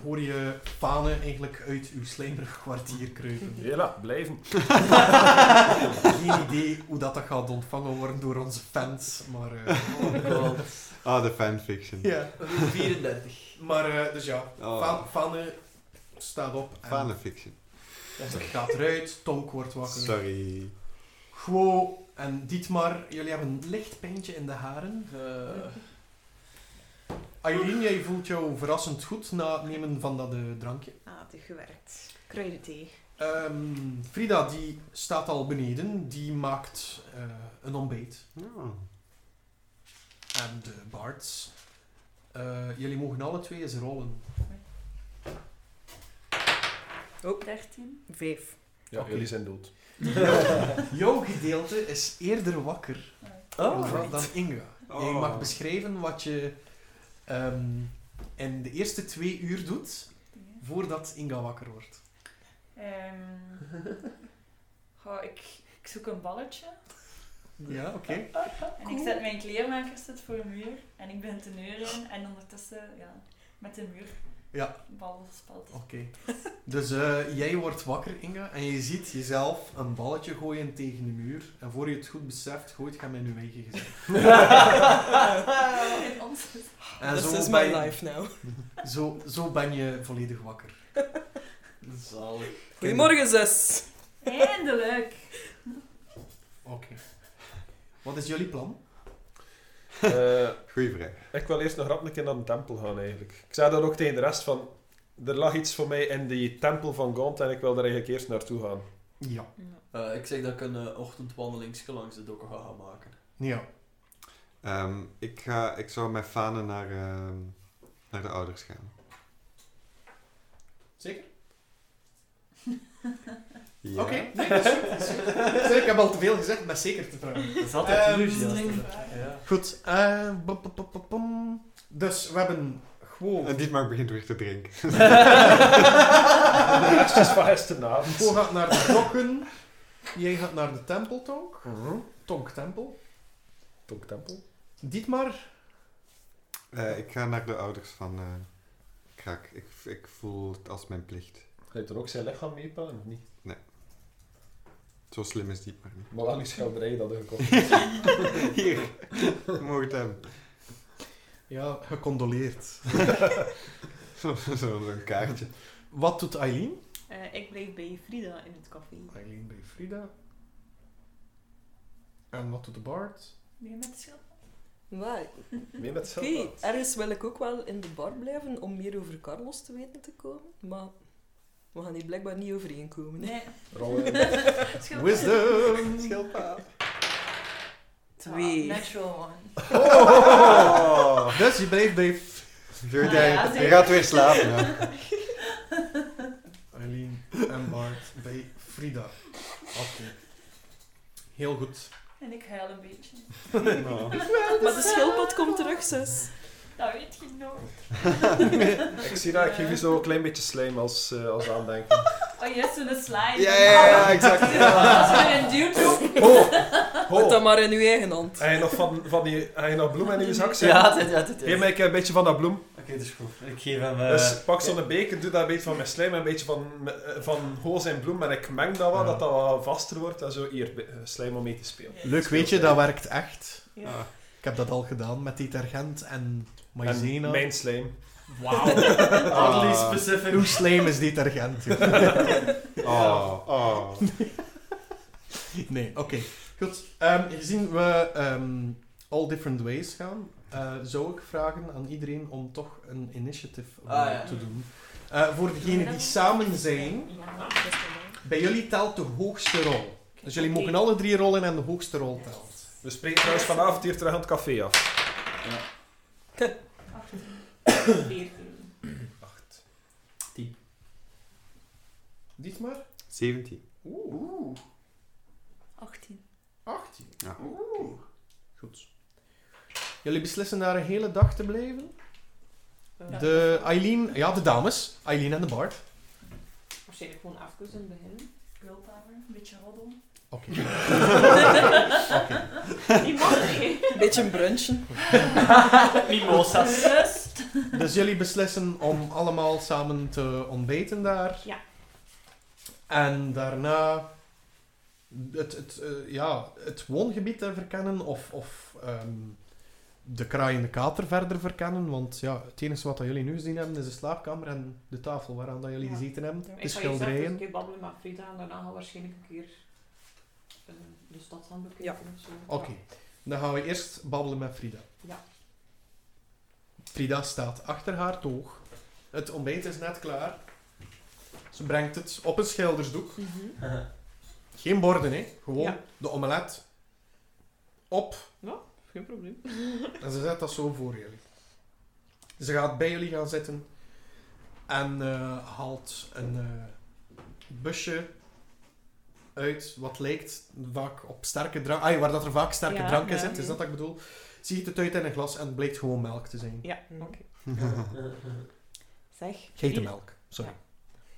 [SPEAKER 4] hoor je fanen eigenlijk uit uw slijmerig kwartier kruipen.
[SPEAKER 6] Hela, blijven.
[SPEAKER 4] Geen idee hoe dat, dat gaat ontvangen worden door onze fans, maar... eh,
[SPEAKER 7] Oh god.
[SPEAKER 2] Ah, de fanfiction.
[SPEAKER 4] ja.
[SPEAKER 7] Route 34.
[SPEAKER 4] Maar, eh, dus ja,
[SPEAKER 2] Oh.
[SPEAKER 4] Fa- Fane staat op en
[SPEAKER 2] Fanfiction.
[SPEAKER 4] gaat eruit. Tonk wordt wakker.
[SPEAKER 2] Sorry.
[SPEAKER 4] Guo en Dietmar, jullie hebben een licht pijntje in de haren.
[SPEAKER 7] Eh,
[SPEAKER 4] Aileen, jij voelt jou verrassend goed na het nemen van dat eh, drankje.
[SPEAKER 8] Ah, het heeft gewerkt. Kruidenthee.
[SPEAKER 4] Ehm, Frida, die staat al beneden. Die maakt eh, een ontbijt.
[SPEAKER 2] Ja.
[SPEAKER 4] En de bards. Eh, jullie mogen alle twee eens rollen.
[SPEAKER 9] 13.
[SPEAKER 10] Vijf.
[SPEAKER 6] Ja,
[SPEAKER 4] Oké.
[SPEAKER 6] jullie zijn dood.
[SPEAKER 4] Jouw gedeelte is eerder wakker.
[SPEAKER 7] Oh.
[SPEAKER 4] dan Inga.
[SPEAKER 2] Oh.
[SPEAKER 4] Jij mag beschrijven wat je ehm, in de eerste twee uur doet voordat Inga wakker wordt.
[SPEAKER 9] Ehm goh, ik, ik zoek een balletje.
[SPEAKER 4] Ja, oké.
[SPEAKER 9] En ik zet mijn kleermakers zit voor een muur. En ik ben te neuren. En ondertussen, ja, met de muur.
[SPEAKER 4] Ja.
[SPEAKER 9] Ballenspel.
[SPEAKER 4] Oké. Dus eh, jij wordt wakker, Inga, en je ziet jezelf een balletje gooien tegen de muur. En voor je het goed beseft, gooit je hem in je eigen gezicht.
[SPEAKER 2] Oh.
[SPEAKER 9] In ons
[SPEAKER 7] Ah,
[SPEAKER 4] En
[SPEAKER 10] This
[SPEAKER 4] zo
[SPEAKER 10] is
[SPEAKER 4] ben
[SPEAKER 10] my
[SPEAKER 4] je-
[SPEAKER 10] life now.
[SPEAKER 4] Zo, zo ben je volledig wakker.
[SPEAKER 7] Zalig.
[SPEAKER 10] Goedemorgen, zus.
[SPEAKER 9] Eindelijk!
[SPEAKER 4] Oké. Wat is jullie plan?
[SPEAKER 6] Eh,
[SPEAKER 2] Goeie vraag.
[SPEAKER 6] ik wil eerst nog rap een keer naar de tempel gaan, eigenlijk. Ik zei dat ook tegen de rest van... Er lag iets voor mij in die tempel van Gaunt en ik wil daar eigenlijk eerst naartoe gaan.
[SPEAKER 4] Ja.
[SPEAKER 7] Eh, ik zeg dat ik een eh, ochtendwandelingske langs de dokken ga gaan maken.
[SPEAKER 4] Ja.
[SPEAKER 2] Ehm, ik, ga, ik zou met Fane naar, ehm, naar de ouders gaan.
[SPEAKER 4] Zeker?
[SPEAKER 2] Ja.
[SPEAKER 4] Oké. Nee, dat is goed, dat is goed. Sorry, Ik heb al te veel gezegd, maar zeker te vragen.
[SPEAKER 7] Dat is altijd
[SPEAKER 4] Ehm,
[SPEAKER 7] enthousiast.
[SPEAKER 9] vragen.
[SPEAKER 7] Ja.
[SPEAKER 4] Goed, eh, bop, bop, bop, bop, bom. dus we hebben
[SPEAKER 2] En
[SPEAKER 4] gewoon
[SPEAKER 2] Dietmar begint weer te drinken.
[SPEAKER 6] de rest is van gisteravond.
[SPEAKER 4] Go gaat naar de dokken, jij gaat naar de tempel, Tonk.
[SPEAKER 6] Mhm.
[SPEAKER 4] Tonk Tempel.
[SPEAKER 6] Tonk tempel.
[SPEAKER 4] Dietmar,
[SPEAKER 2] Eh, ik ga naar de ouders van eh Krak. Ik, ik voel het als mijn plicht.
[SPEAKER 6] Heeft er ook zijn lichaam mee, pa? Niet.
[SPEAKER 2] Zo slim is Dietmar niet.
[SPEAKER 6] Maar wel die schilderij dat er gekocht
[SPEAKER 2] Hier, je mag het hebben.
[SPEAKER 4] ja, gecondoleerd.
[SPEAKER 2] Zo- zo- Zo'n kaartje.
[SPEAKER 4] Wat doet Aileen?
[SPEAKER 8] Eh, ik blijf bij Frida in het café.
[SPEAKER 4] Aileen bij Frida. En wat doet de Bart?
[SPEAKER 9] Ben je met de schild?
[SPEAKER 10] Maar,
[SPEAKER 6] Mee met
[SPEAKER 10] oké,
[SPEAKER 6] Silva.
[SPEAKER 10] ergens wil ik ook wel in de bar blijven om meer over Carlos te weten te komen, maar we gaan hier blijkbaar niet overeenkomen. hè.
[SPEAKER 9] Nee.
[SPEAKER 6] Rollen.
[SPEAKER 9] Schild.
[SPEAKER 4] Wisdom!
[SPEAKER 10] Twee.
[SPEAKER 9] Ah, natural one.
[SPEAKER 2] Oh.
[SPEAKER 4] Dus je blijft bij
[SPEAKER 2] Goed,
[SPEAKER 9] Ah,
[SPEAKER 2] jij-
[SPEAKER 9] ja,
[SPEAKER 2] je
[SPEAKER 9] zeker.
[SPEAKER 2] gaat weer slapen. hè.
[SPEAKER 4] Aileen en Bart bij Frida. Oké. Heel goed.
[SPEAKER 9] En ik huil een beetje.
[SPEAKER 2] Oh.
[SPEAKER 10] Maar de schildpad komt terug, zus.
[SPEAKER 9] Dat weet je nooit.
[SPEAKER 6] Ik zie dat, ik geef je zo een klein beetje slijm als, eh, als aandenken.
[SPEAKER 9] Oh, je hebt zo'n slime.
[SPEAKER 2] Ja, ja, ja, exact.
[SPEAKER 9] Dat is weer een duwtje.
[SPEAKER 6] Ho!
[SPEAKER 10] Doe
[SPEAKER 6] Ho!
[SPEAKER 10] dat maar in uw eigen hand.
[SPEAKER 6] Heb je nog, van, van die, heb je nog bloem in je zak?
[SPEAKER 7] Ja, altijd, ja, altijd.
[SPEAKER 6] Geef mij een keer een beetje van dat bloem.
[SPEAKER 7] Oké, dat is goed. Ik geef hem... eh,
[SPEAKER 6] Dus pak zo'n beker, doe daar een beetje van mijn slijm en een beetje van, eh, van hoos en bloem. En ik meng dat wel,
[SPEAKER 4] Ja.
[SPEAKER 6] dat dat wat vaster wordt. En zo hier, be- eh, slijm om mee te spelen.
[SPEAKER 4] Leuk weet je, dat werkt echt.
[SPEAKER 8] Ja.
[SPEAKER 2] Ah.
[SPEAKER 4] Ik heb dat al gedaan met detergent en
[SPEAKER 6] En
[SPEAKER 4] maïzena.
[SPEAKER 6] mijn slijm.
[SPEAKER 11] Wauw. Oddly
[SPEAKER 2] Ah.
[SPEAKER 11] specific.
[SPEAKER 4] Hoe slijm is detergent? joh?
[SPEAKER 2] Oh, oh.
[SPEAKER 4] nee, oké. Goed. Ehm, gezien we ehm, all different ways gaan, eh, zou ik vragen aan iedereen om toch een initiative roll
[SPEAKER 7] Ah, ja.
[SPEAKER 4] te doen. Eh, voor degenen die samen zijn,
[SPEAKER 8] Ja.
[SPEAKER 4] bij jullie telt de hoogste rol. Dus jullie
[SPEAKER 8] Oké.
[SPEAKER 4] mogen alle drie rollen en de hoogste rol telt.
[SPEAKER 6] We spreken trouwens vanavond hier terug aan het café af.
[SPEAKER 8] 14.
[SPEAKER 4] Dietmar?
[SPEAKER 2] 17.
[SPEAKER 4] Oeh.
[SPEAKER 9] 18.
[SPEAKER 4] 18.
[SPEAKER 2] Ja.
[SPEAKER 4] Oeh. Goed. Jullie beslissen daar een hele dag te blijven?
[SPEAKER 8] Eh,
[SPEAKER 4] De Eileen, ja, de dames. Eileen en de Bart.
[SPEAKER 8] Waarschijnlijk gewoon even in het begin.
[SPEAKER 2] Girl power, een beetje roddel.
[SPEAKER 4] Oké.
[SPEAKER 2] Die mag niet.
[SPEAKER 7] Beetje een brunchen.
[SPEAKER 2] Mimosas. Rust.
[SPEAKER 4] Dus jullie beslissen om allemaal samen te ontbijten daar.
[SPEAKER 2] Ja.
[SPEAKER 4] En daarna het, het, eh, ja, het woongebied te verkennen of, of ehm, de kraai en de kater verder verkennen. Want ja, het enige wat dat jullie nu gezien hebben is de slaapkamer en de tafel waaraan dat jullie
[SPEAKER 8] Ja.
[SPEAKER 4] gezeten hebben.
[SPEAKER 8] Ik
[SPEAKER 4] De
[SPEAKER 8] ga eerst even een
[SPEAKER 4] schilderijen.
[SPEAKER 8] keer babbelen met Frida en daarna gaan we waarschijnlijk een keer eh, de stadshandel bekijken of zo.
[SPEAKER 4] Oké, dan gaan we eerst babbelen met Frida.
[SPEAKER 8] Ja.
[SPEAKER 4] Frida staat achter haar toog. Het ontbijt is net klaar. Ze brengt het op een schildersdoek. Geen borden, hè? Gewoon
[SPEAKER 8] Ja.
[SPEAKER 4] de omelet op.
[SPEAKER 8] Ja, geen probleem.
[SPEAKER 4] En ze zet dat zo voor jullie. Ze gaat bij jullie gaan zitten en eh, haalt een eh, busje uit wat lijkt vaak op sterke drank. Ah, waar dat er vaak sterke
[SPEAKER 8] Ja,
[SPEAKER 4] drank in
[SPEAKER 8] ja.
[SPEAKER 4] zit, is dat wat ik bedoel. Ziet het uit in een glas en het blijkt gewoon melk te zijn.
[SPEAKER 8] Ja, oké. Zeg.
[SPEAKER 4] Geitenmelk, sorry.
[SPEAKER 8] Ja.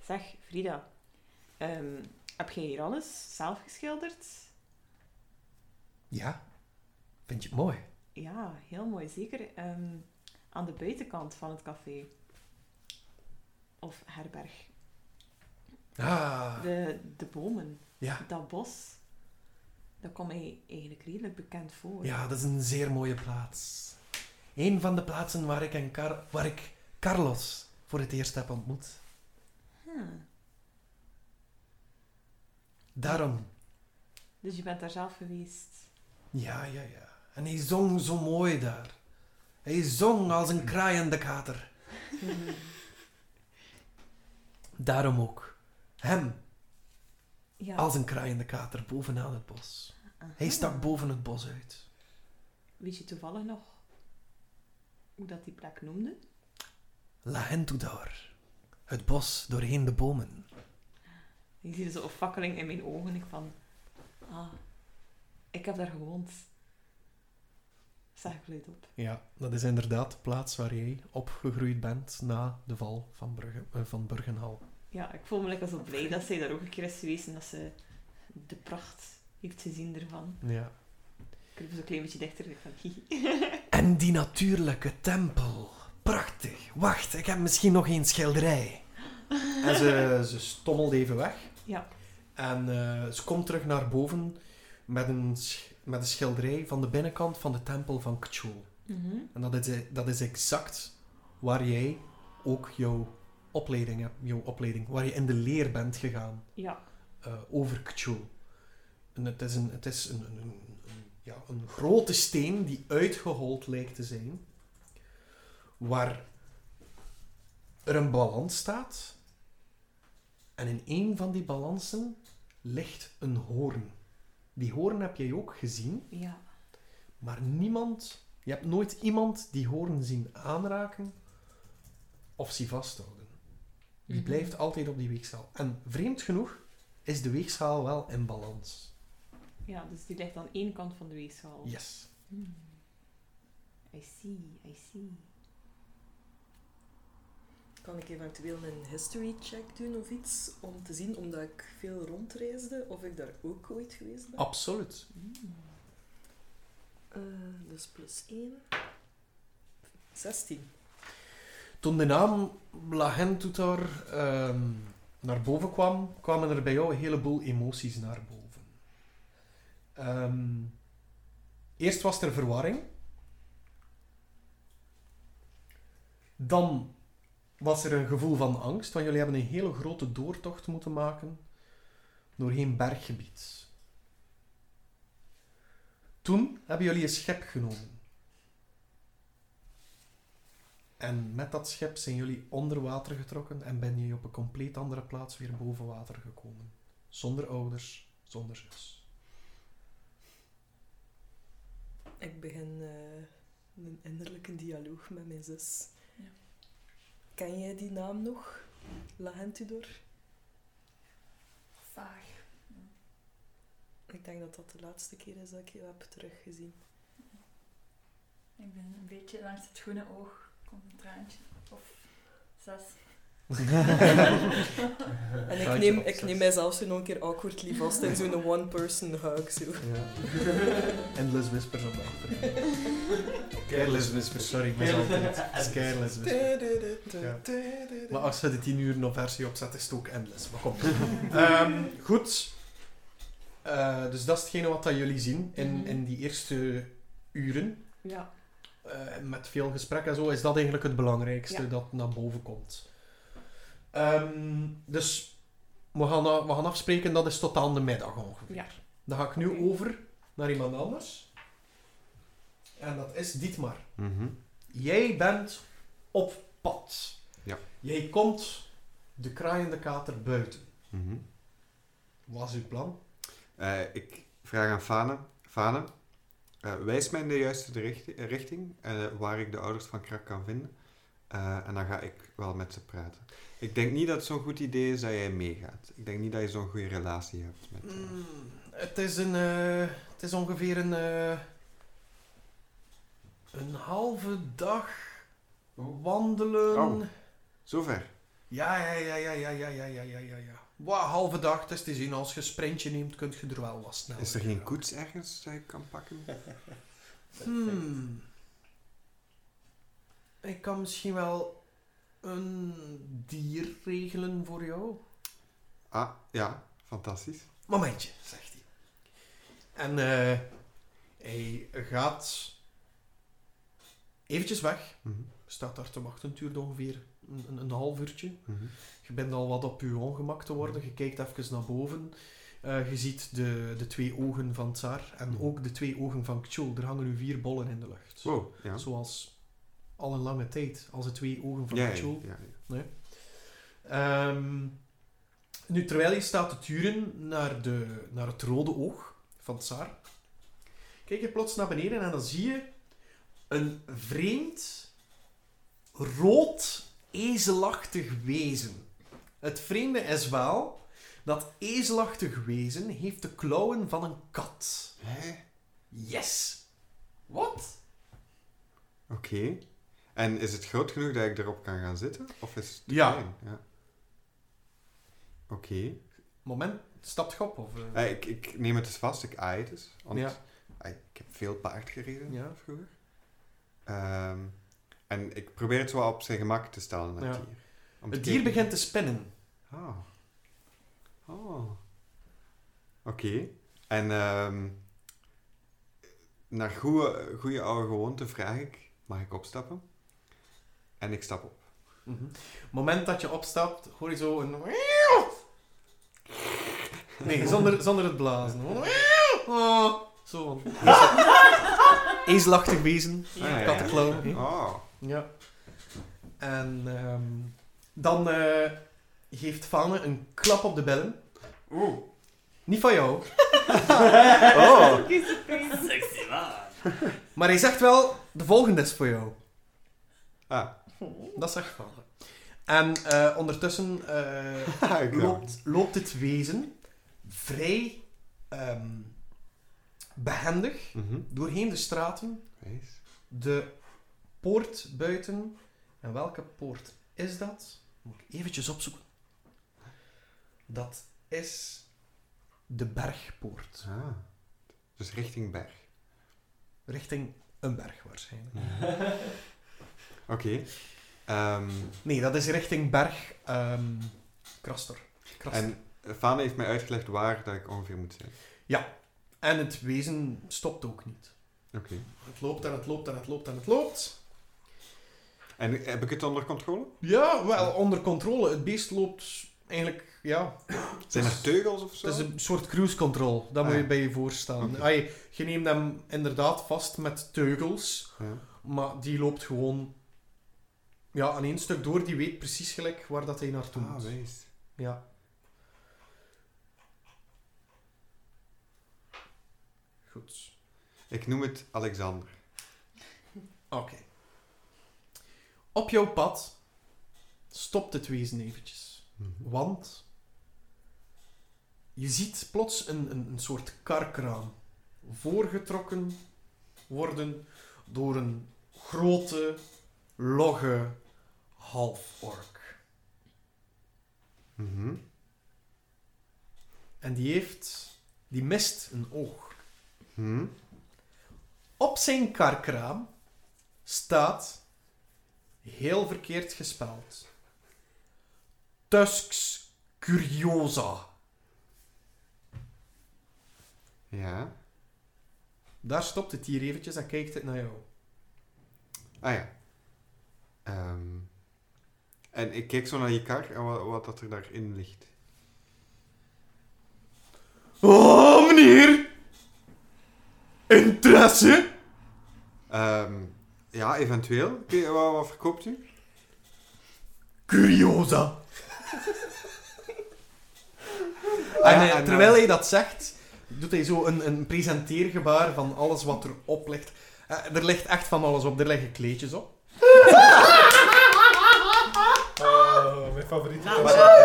[SPEAKER 8] Zeg, Frida. ehm, heb jij hier alles zelf geschilderd?
[SPEAKER 4] Ja. Vind je het mooi?
[SPEAKER 8] Ja, heel mooi. Zeker ehm, aan de buitenkant van het café. Of herberg.
[SPEAKER 4] Ah.
[SPEAKER 8] De, de bomen.
[SPEAKER 4] Ja.
[SPEAKER 8] Dat bos. Dat komt mij eigenlijk redelijk bekend voor.
[SPEAKER 4] Ja, dat is een zeer mooie plaats. Een van de plaatsen waar ik, en Car- waar ik Carlos voor het eerst heb ontmoet.
[SPEAKER 8] Hm.
[SPEAKER 4] Daarom.
[SPEAKER 8] Dus je bent daar zelf geweest.
[SPEAKER 4] Ja, ja, ja. En hij zong zo mooi daar. Hij zong als een kraaiende kater. Daarom ook. Hem,
[SPEAKER 8] Ja.
[SPEAKER 4] als een kraaiende kater, bovenaan het bos. Hij stak boven het bos uit.
[SPEAKER 8] Weet je toevallig nog hoe dat die plek noemde?
[SPEAKER 4] La Hentudaur. Het bos doorheen de bomen.
[SPEAKER 8] Ik zie zo'n fakkeling in mijn ogen. Ik van, ah, ik heb daar gewoond. Zeg ik luid op.
[SPEAKER 4] Ja, dat is inderdaad de plaats waar jij opgegroeid bent na de val van, Brugge, eh, van Burgenhal.
[SPEAKER 8] Ja, ik voel me lekker zo blij dat zij daar ook een keer is geweest en dat ze de pracht heeft gezien ervan.
[SPEAKER 4] Ja.
[SPEAKER 8] Ik heb zo'n klein beetje dichter. Ik van, hihi.
[SPEAKER 4] En die natuurlijke tempel. Prachtig. Wacht, ik heb misschien nog één schilderij. En ze, ze stommelt even weg.
[SPEAKER 8] Ja.
[SPEAKER 4] En eh, ze komt terug naar boven met een, sch- met een schilderij van de binnenkant van de tempel van Kchul.
[SPEAKER 8] Mhm.
[SPEAKER 4] En dat is, dat is exact waar jij ook jouw opleiding hebt, jouw opleiding, waar je in de leer bent gegaan
[SPEAKER 8] Ja.
[SPEAKER 4] eh, over Kchul. En het is, een, het is een, een, een- een- ja, een grote steen die uitgehold lijkt te zijn, waar er een balans staat. En in een van die balansen ligt een hoorn. Die hoorn heb jij ook gezien.
[SPEAKER 8] Ja.
[SPEAKER 4] Maar niemand, je hebt nooit iemand die hoorn zien aanraken of zien vasthouden. Die
[SPEAKER 8] Mhm.
[SPEAKER 4] blijft altijd op die weegschaal. En vreemd genoeg is de weegschaal wel in balans.
[SPEAKER 8] ja, dus die ligt aan één kant van de weegschaal.
[SPEAKER 4] Yes.
[SPEAKER 8] Hmm. I see, I see.
[SPEAKER 7] Kan ik eventueel een history check doen of iets? Om te zien, omdat ik veel rondreisde, of ik daar ook ooit geweest ben.
[SPEAKER 4] Absoluut.
[SPEAKER 8] Mm.
[SPEAKER 7] Eh, dus plus 1. 16.
[SPEAKER 4] Toen de naam Lahentutor ehm naar boven kwam, kwamen er bij jou een heleboel emoties naar boven. Ehm, eerst was er verwarring. Dan was er een gevoel van angst, want jullie hebben een hele grote doortocht moeten maken doorheen berggebied. Toen hebben jullie een schep genomen. En met dat schep zijn jullie onder water getrokken en ben je op een compleet andere plaats weer boven water gekomen. Zonder ouders, zonder zus.
[SPEAKER 7] Ik begin eh, een innerlijke dialoog met mijn zus.
[SPEAKER 2] Ja.
[SPEAKER 7] Ken jij die naam nog? La Hentudor?
[SPEAKER 2] Vaag.
[SPEAKER 7] Ik denk dat dat de laatste keer is dat ik je heb teruggezien.
[SPEAKER 2] Ik ben een beetje langs het groene oog. Komt een traantje. Of
[SPEAKER 9] Zes.
[SPEAKER 10] En ik neem, ik neem mijzelf zo nog een keer awkwardly vast in zo'n one-person hug. Zo.
[SPEAKER 4] Endless Whispers op de achtergrond. Careless Whispers, sorry, ik ben
[SPEAKER 10] Careless-
[SPEAKER 4] altijd. Het is Careless Whispers. Ja. Maar als ze de 10 uur nog versie opzet, is het ook endless. Maar kom. Ehm, goed. Eh, dus dat is hetgene wat dat jullie zien in, in die eerste uren.
[SPEAKER 12] Mhm. Ja.
[SPEAKER 4] Eh, met veel gesprek en zo, is dat eigenlijk het belangrijkste
[SPEAKER 12] Ja.
[SPEAKER 4] dat naar boven komt. Ehm, dus we gaan, a- we gaan afspreken, dat is tot aan de middag ongeveer.
[SPEAKER 12] Ja.
[SPEAKER 4] Dan ga ik nu over naar iemand anders. En dat is Dietmar.
[SPEAKER 2] Mhm.
[SPEAKER 4] Jij bent op pad.
[SPEAKER 2] Ja.
[SPEAKER 4] Jij komt de kraaiende kater buiten.
[SPEAKER 2] Mhm.
[SPEAKER 4] Wat is uw plan?
[SPEAKER 2] Eh, ik vraag aan Fane. Fane, eh, wijs mij in de juiste richt- eh, richting eh, waar ik de ouders van Krak kan vinden. Eh, en dan ga ik wel met ze praten. Ik denk niet dat het zo'n goed idee is dat jij meegaat. Ik denk niet dat je zo'n goede relatie hebt met... eh,
[SPEAKER 7] Mm.
[SPEAKER 4] Mm, Het is, een, eh, het is ongeveer een, eh, een halve dag wandelen.
[SPEAKER 2] Oh. Zover.
[SPEAKER 4] Ja, ja, ja, ja, ja, ja, ja, ja, ja, ja, ja. Wat een halve dag, het is te zien. Als je een sprintje neemt, kun je er wel wat snel.
[SPEAKER 2] Is er geen koets ergens dat ik kan pakken?
[SPEAKER 4] Hmm. Ik kan misschien wel een dier regelen voor jou.
[SPEAKER 2] Ah, ja. Fantastisch.
[SPEAKER 4] Momentje, zegt hij. En eh, hij gaat eventjes weg.
[SPEAKER 2] Mhm.
[SPEAKER 4] Staat daar te wachten, het duurt ongeveer een, een, een half uurtje.
[SPEAKER 2] Mhm.
[SPEAKER 4] Je bent al wat op je ongemak te worden. Je kijkt even naar boven. Eh, je ziet de, de twee ogen van Tsar en ook de twee ogen van Kjol. Er hangen nu vier bollen in de lucht.
[SPEAKER 2] Wow, ja.
[SPEAKER 4] Zoals al een lange tijd, als de twee ogen van
[SPEAKER 2] Ja,
[SPEAKER 4] ja,
[SPEAKER 2] ja,
[SPEAKER 4] Kjol.
[SPEAKER 2] ja,
[SPEAKER 4] Nee. Ehm, nu, terwijl je staat te turen naar, de, naar het rode oog van Tsar, kijk je plots naar beneden en dan zie je een vreemd, rood, ezelachtig wezen. Het vreemde is wel, dat ezelachtig wezen heeft de klauwen van een kat. Yes! Wat?
[SPEAKER 2] Oké. En is het groot genoeg dat ik erop kan gaan zitten? Of is het te
[SPEAKER 4] Ja.
[SPEAKER 2] klein? ja. Oké.
[SPEAKER 4] Moment, stapt je op? Of, eh?
[SPEAKER 2] Eh, ik, ik neem het dus vast, ik aai het dus. Want
[SPEAKER 4] Ja.
[SPEAKER 2] eh, ik heb veel paard gereden
[SPEAKER 4] Ja.
[SPEAKER 2] vroeger. Ehm, en ik probeer het wel op zijn gemak te stellen, dat
[SPEAKER 4] Ja.
[SPEAKER 2] dier. Om te
[SPEAKER 4] Het dier
[SPEAKER 2] kijken-
[SPEAKER 4] begint te spinnen.
[SPEAKER 2] Ah. Oh. Oké. En ehm, naar goede, goede oude gewoonte vraag ik, mag ik opstappen? En ik stap op.
[SPEAKER 4] Mhm. moment dat je opstapt, hoor je zo een... Nee, zonder, zonder het blazen. Hoor. Oh, zo van. Ezelachtig wezen.
[SPEAKER 2] Ah, ja, ja.
[SPEAKER 4] Kattenklauw.
[SPEAKER 2] Oh.
[SPEAKER 4] Ja. En ehm, dan eh, geeft Fane een klap op de bellen. Oeh. Niet van jou. oh.
[SPEAKER 11] Sexy man.
[SPEAKER 4] Maar hij zegt wel, de volgende is voor jou.
[SPEAKER 2] Ah.
[SPEAKER 4] Dat zegt Fane. En eh, ondertussen eh,
[SPEAKER 2] Ah, ik
[SPEAKER 4] loopt, loopt het wezen vrij ehm, behendig
[SPEAKER 2] Mhm.
[SPEAKER 4] doorheen de straten,
[SPEAKER 2] Wees.
[SPEAKER 4] de poort buiten. En welke poort is dat? Moet ik eventjes opzoeken. Dat is de bergpoort.
[SPEAKER 2] Ah. Dus richting berg.
[SPEAKER 4] Richting een berg waarschijnlijk.
[SPEAKER 2] Oké. Ehm,
[SPEAKER 4] Nee, dat is richting berg ehm Kraster. Kraster.
[SPEAKER 2] en Fane heeft mij uitgelegd waar dat ik ongeveer moet zijn.
[SPEAKER 4] Ja. En het wezen stopt ook niet.
[SPEAKER 2] Oké.
[SPEAKER 4] Het loopt en het loopt en het loopt en het loopt.
[SPEAKER 2] En heb ik het onder controle?
[SPEAKER 4] Ja, wel onder controle. Het beest loopt eigenlijk, ja.
[SPEAKER 2] Zijn er teugels of zo?
[SPEAKER 4] Het is een soort cruise control. Dat
[SPEAKER 2] Ah,
[SPEAKER 4] moet je
[SPEAKER 2] ja.
[SPEAKER 4] bij je voorstellen.
[SPEAKER 2] Oké.
[SPEAKER 4] Ai, je neemt hem inderdaad vast met teugels.
[SPEAKER 2] Ja.
[SPEAKER 4] Maar die loopt gewoon ja, aan één stuk door. Die weet precies gelijk waar dat hij naartoe
[SPEAKER 2] Ah,
[SPEAKER 4] moet.
[SPEAKER 2] wees.
[SPEAKER 4] Ja. Goed.
[SPEAKER 2] Ik noem het Alexander.
[SPEAKER 4] Oké. Op jouw pad stopt het wezen eventjes.
[SPEAKER 2] Mhm,
[SPEAKER 4] Want je ziet plots een, een, een soort karkraam voorgetrokken worden door een grote, logge halfork.
[SPEAKER 2] Mhm.
[SPEAKER 4] En die heeft... Die mist een oog.
[SPEAKER 2] Hm?
[SPEAKER 4] Op zijn karkraam staat heel verkeerd gespeld. Tusks Curiosa.
[SPEAKER 2] Ja.
[SPEAKER 4] Daar stopt het hier eventjes en kijkt het naar jou.
[SPEAKER 2] Ah ja. Ehm, en ik kijk zo naar je kar en wat, wat dat er daarin ligt.
[SPEAKER 4] Oh, meneer! Interesse?
[SPEAKER 2] Ehm, ja, eventueel. Oké, Wat, wat verkoopt u?
[SPEAKER 4] Curiosa. en, eh, terwijl hij dat zegt, doet hij zo een, een presenteergebaar van alles wat erop ligt. Eh, er ligt echt van alles op. Er liggen kleedjes op.
[SPEAKER 6] Oh, mijn favoriete
[SPEAKER 2] Maar-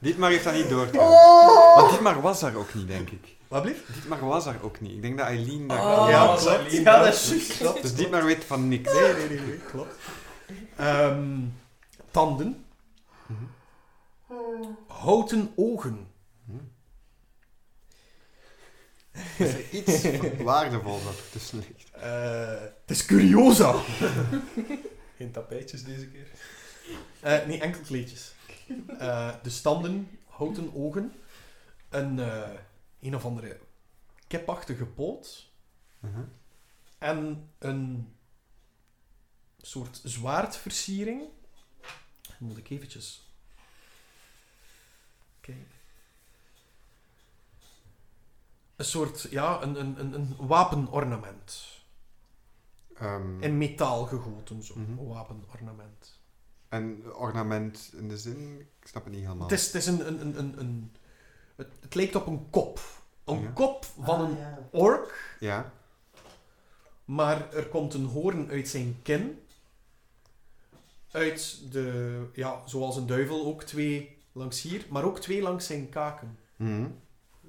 [SPEAKER 2] Dietmar heeft dat niet door.
[SPEAKER 4] Oh.
[SPEAKER 2] Want Dietmar was daar ook niet, denk ik.
[SPEAKER 4] Wat blieft?
[SPEAKER 2] Dietmar was daar ook niet. Ik denk dat Eileen daar
[SPEAKER 4] Oh, Ja, klopt. Eileen Ja, daar dat is was. juist. Klopt,
[SPEAKER 2] Dus
[SPEAKER 4] klopt.
[SPEAKER 2] Dietmar weet van niks.
[SPEAKER 4] Nee, nee, nee, nee, klopt. Ehm, tanden. Mhm. Houten ogen.
[SPEAKER 2] Is er iets waardevols dat er tussen ligt?
[SPEAKER 4] Eh, het is curiosa.
[SPEAKER 6] Geen tapijtjes deze keer.
[SPEAKER 4] Eh, nee, enkel kleedjes. Eh, de standen, houten ogen, een, eh, een of andere kepachtige poot
[SPEAKER 2] Mhm.
[SPEAKER 4] en een soort zwaardversiering. Moet ik eventjes... Kijken. Een soort, ja, een, een, een, een wapenornament.
[SPEAKER 2] Ehm,
[SPEAKER 4] In metaal gegoten, zo'n
[SPEAKER 2] Mhm.
[SPEAKER 4] wapenornament.
[SPEAKER 2] en ornament in de zin? Ik snap het niet helemaal.
[SPEAKER 4] Het is, het is een... een, een, een, een- het, het lijkt op een kop. Een
[SPEAKER 2] Ja.
[SPEAKER 4] kop van een ork,
[SPEAKER 2] Ja.
[SPEAKER 4] maar er komt een hoorn uit zijn kin. Uit de... Ja, zoals een duivel ook twee langs hier, maar ook twee langs zijn kaken.
[SPEAKER 2] Mhm.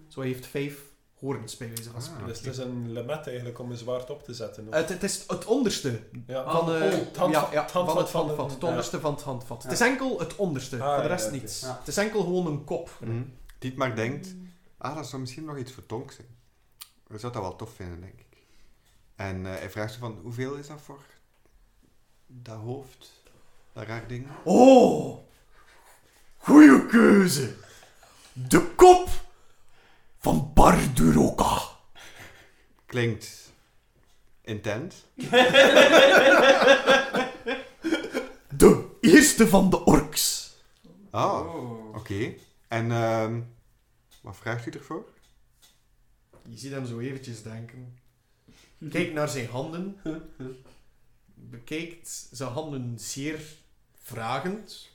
[SPEAKER 4] Zo hij heeft vijf hoorns bij wijze van
[SPEAKER 2] Ah.
[SPEAKER 4] spreken.
[SPEAKER 6] Dus het is een lemet eigenlijk om een zwaard op te zetten. of-
[SPEAKER 4] Het, het is het onderste
[SPEAKER 6] ja.
[SPEAKER 4] van,
[SPEAKER 6] Oh,
[SPEAKER 4] eh,
[SPEAKER 6] het handvat-
[SPEAKER 4] ja, ja,
[SPEAKER 6] het
[SPEAKER 4] van
[SPEAKER 6] handvat
[SPEAKER 4] het
[SPEAKER 6] van de-
[SPEAKER 4] handvat. Het onderste van het handvat.
[SPEAKER 2] Ja.
[SPEAKER 4] Het is enkel het onderste,
[SPEAKER 6] Ah,
[SPEAKER 4] voor de
[SPEAKER 6] ja,
[SPEAKER 4] rest
[SPEAKER 6] oké.
[SPEAKER 4] niets.
[SPEAKER 2] Ja.
[SPEAKER 4] Het is enkel gewoon een kop.
[SPEAKER 2] Mhm. Dietmar denkt, ah, dat zou misschien nog iets voor Tonk zijn. Hij zou dat wel tof vinden, denk ik. En eh, hij vraagt ze van, hoeveel is dat voor dat hoofd? Dat raar ding?
[SPEAKER 4] Oh, goeie keuze. De kop van Barduroka.
[SPEAKER 2] Klinkt intent.
[SPEAKER 4] De eerste van de orks.
[SPEAKER 2] Ah,
[SPEAKER 7] Oh.
[SPEAKER 2] oké. En ehm, wat vraagt u ervoor?
[SPEAKER 4] Je ziet hem zo eventjes denken. Kijk naar zijn handen. Bekijkt zijn handen zeer vragend.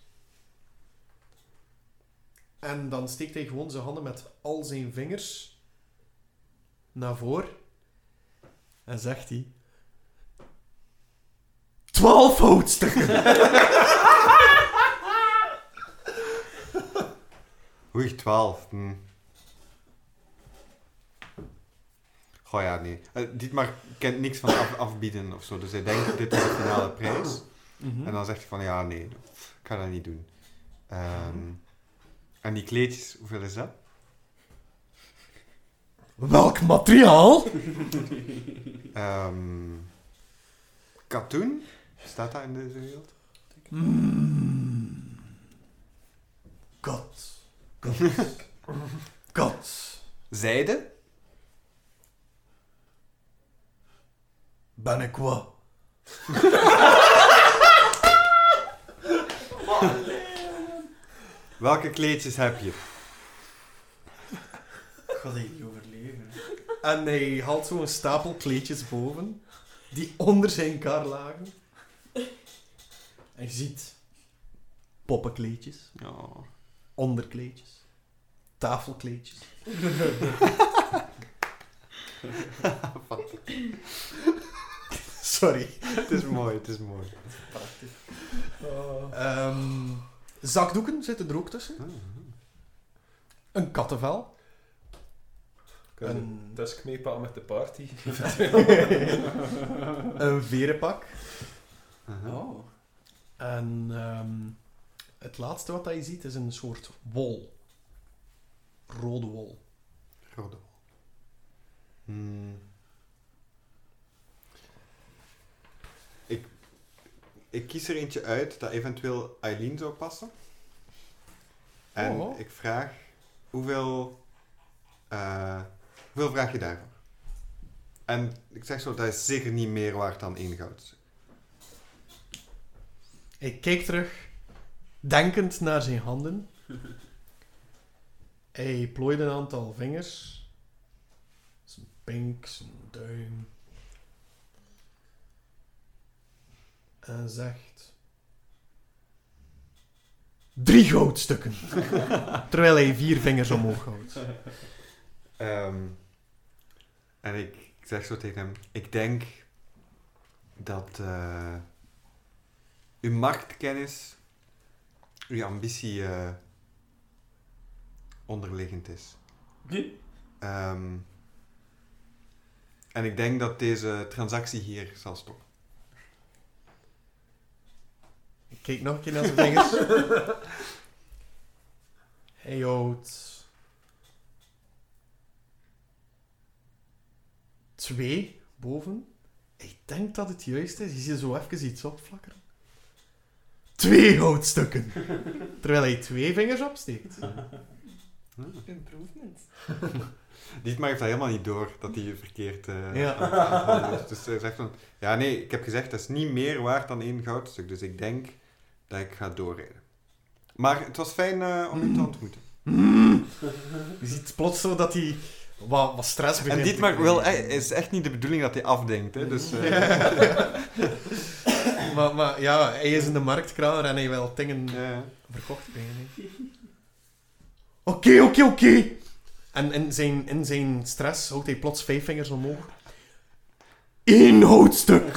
[SPEAKER 4] En dan steekt hij gewoon zijn handen met al zijn vingers naar voren. En zegt hij... Twaalf houtstukken!
[SPEAKER 2] Oei, 12. Hm. Goh ja, nee. Eh, Dietmar kent niks van af- afbieden of zo. Dus hij denkt, dit is de finale prijs.
[SPEAKER 4] Hm?
[SPEAKER 2] En dan zegt hij van, ja, nee, ik ga dat niet doen. Ehm, en die kleedjes, hoeveel is dat?
[SPEAKER 4] Welk materiaal?
[SPEAKER 2] Ehm, katoen? Staat dat in deze wereld?
[SPEAKER 4] Kat. Kat. Kat.
[SPEAKER 2] Zijde?
[SPEAKER 4] Ben ik wat?
[SPEAKER 2] Welke kleedjes heb je?
[SPEAKER 7] Ik ga dit niet overleven.
[SPEAKER 4] En hij haalt zo'n stapel kleedjes boven, die onder zijn kar lagen. En je ziet poppenkleedjes,
[SPEAKER 2] Oh.
[SPEAKER 4] onderkleedjes, tafelkleedjes. Sorry.
[SPEAKER 2] Het is mooi, het is mooi.
[SPEAKER 6] Oh.
[SPEAKER 4] Ehm, zakdoeken zitten er ook tussen.
[SPEAKER 2] Ah.
[SPEAKER 4] Een kattenvel.
[SPEAKER 6] Kunnen we
[SPEAKER 4] Een-
[SPEAKER 6] tusk meepalen met de party?
[SPEAKER 4] een verenpak.
[SPEAKER 2] Aha.
[SPEAKER 7] Oh.
[SPEAKER 4] En ehm, Het laatste wat dat je ziet is een soort wol. Rode wol.
[SPEAKER 2] Rode wol. Hmm. Ik, ik kies er eentje uit dat eventueel Eileen zou passen. En
[SPEAKER 4] Oh.
[SPEAKER 2] ik vraag hoeveel, eh, hoeveel vraag je daarvoor? En ik zeg zo, dat is zeker niet meer waard dan één goud.
[SPEAKER 4] Hij kijkt terug, denkend naar zijn handen. Hij plooit een aantal vingers. Zijn pink, zijn duim. En zegt... Drie goudstukken. Terwijl hij vier vingers omhoog houdt.
[SPEAKER 2] Ehm, en ik, ik zeg zo tegen hem: Ik denk dat eh, uw machtkennis, uw ambitie eh, onderliggend is. Ehm, en ik denk dat deze transactie hier zal stoppen.
[SPEAKER 4] Ik kijk nog een keer naar zijn vingers. Hij houdt... Twee boven. Ik denk dat het juist is. Je ziet zo even iets opflakkeren. Twee houtstukken. Terwijl hij twee vingers opsteekt.
[SPEAKER 10] Improvement.
[SPEAKER 2] Dietmar heeft dat helemaal niet door, dat hij verkeerd eh
[SPEAKER 4] Ja.
[SPEAKER 2] aan- aan- aan- is. Dus hij zegt van, ja nee, ik heb gezegd, dat is niet meer waard dan één goudstuk. Dus ik denk dat ik ga doorrijden. Maar het was fijn eh, om u te ontmoeten.
[SPEAKER 4] Mm. Je ziet plots zo dat hij wat, wat stress begint
[SPEAKER 2] En
[SPEAKER 4] te
[SPEAKER 2] Dietmar
[SPEAKER 4] krijgen.
[SPEAKER 2] wil, e- is echt niet de bedoeling dat hij afdenkt, hè. Dus, eh,
[SPEAKER 4] maar, maar ja, hij is in de marktkramer en hij wil dingen
[SPEAKER 2] Ja.
[SPEAKER 4] verkocht krijgen. hè. Oké, oké, oké. En in zijn, in zijn stress houdt hij plots vijf vingers omhoog. Eén houtstuk.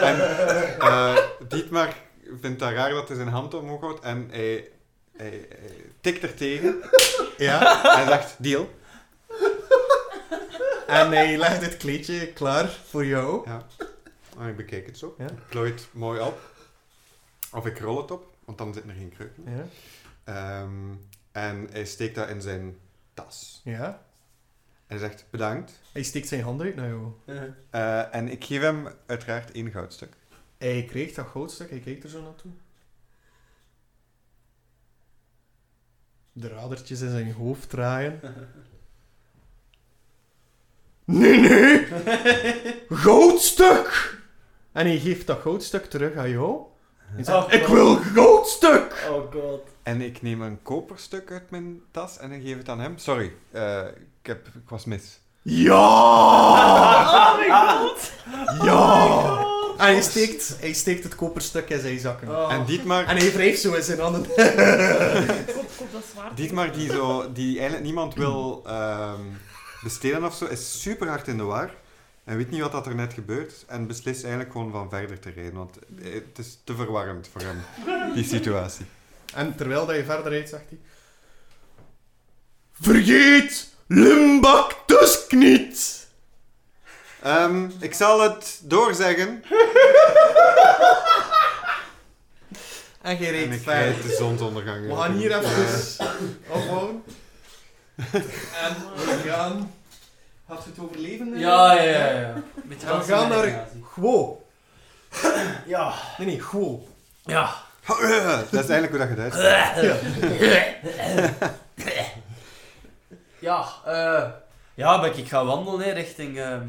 [SPEAKER 2] en eh, Dietmar vindt dat raar dat hij zijn hand omhoog houdt en hij, hij, hij tikt er tegen
[SPEAKER 4] Ja.
[SPEAKER 2] en zegt, deal.
[SPEAKER 4] En hij legt het kleedje klaar voor jou.
[SPEAKER 2] Ja. En Ah, ik bekijk het zo.
[SPEAKER 4] Ja.
[SPEAKER 2] Ik plooi het mooi op. Of ik rol het op, want dan zit er geen kreuk meer.
[SPEAKER 4] Ja.
[SPEAKER 2] Ehm, en hij steekt dat in zijn tas.
[SPEAKER 4] ja.
[SPEAKER 2] En zegt bedankt.
[SPEAKER 4] Hij steekt zijn hand uit naar jou.
[SPEAKER 2] Eh, en ik geef hem uiteraard één goudstuk.
[SPEAKER 4] Hij kreeg dat goudstuk, hij keek er zo naartoe. De radertjes in zijn hoofd draaien. Nee, nee! Goudstuk! En hij geeft dat goudstuk terug aan jou. Hij zegt,
[SPEAKER 7] Oh,
[SPEAKER 4] ik
[SPEAKER 7] God.
[SPEAKER 4] wil goudstuk!
[SPEAKER 7] Oh god.
[SPEAKER 2] En ik neem een koperstuk uit mijn tas en ik geef het aan hem. Sorry, eh, ik, heb, ik was mis.
[SPEAKER 4] Ja!
[SPEAKER 8] Oh my god!
[SPEAKER 4] Ja! En hij steekt, hij steekt het koperstuk in zijn zakken.
[SPEAKER 7] Oh.
[SPEAKER 2] En Dietmar,
[SPEAKER 4] En hij wrijft zo in zijn handen.
[SPEAKER 8] Koop, koop dat zwaard.
[SPEAKER 2] Dietmar die, zo, die eigenlijk niemand wil ehm, besteden of zo, is super hard in de war. En weet niet wat dat er net gebeurt. En beslist eigenlijk gewoon van verder te rijden. Want eh, het is te verwarrend voor hem, die situatie.
[SPEAKER 4] En terwijl dat je verder rijdt, zegt hij... Vergeet Limbak Tusk niet!
[SPEAKER 2] Ehm, ik zal het doorzeggen.
[SPEAKER 4] En je
[SPEAKER 2] En
[SPEAKER 4] reed
[SPEAKER 2] ik
[SPEAKER 4] verder.
[SPEAKER 2] rijd de zonsondergang.
[SPEAKER 4] We
[SPEAKER 2] uit.
[SPEAKER 4] gaan hier
[SPEAKER 2] Eh,
[SPEAKER 4] even ophouden. En we gaan... Had je het overleven?
[SPEAKER 7] Ja, ja, ja. ja. Beetje
[SPEAKER 4] Ja, we
[SPEAKER 7] dansen
[SPEAKER 4] gaan
[SPEAKER 7] met
[SPEAKER 4] naar-
[SPEAKER 7] Nazi.
[SPEAKER 4] Gwo.
[SPEAKER 7] Ja.
[SPEAKER 4] Nee, nee, Gwo.
[SPEAKER 7] Ja.
[SPEAKER 2] eh, dat is eigenlijk hoe dat je het uitspreekt.
[SPEAKER 7] Ja, eh, ja ben ik, ik ga wandelen hè, richting, ehm,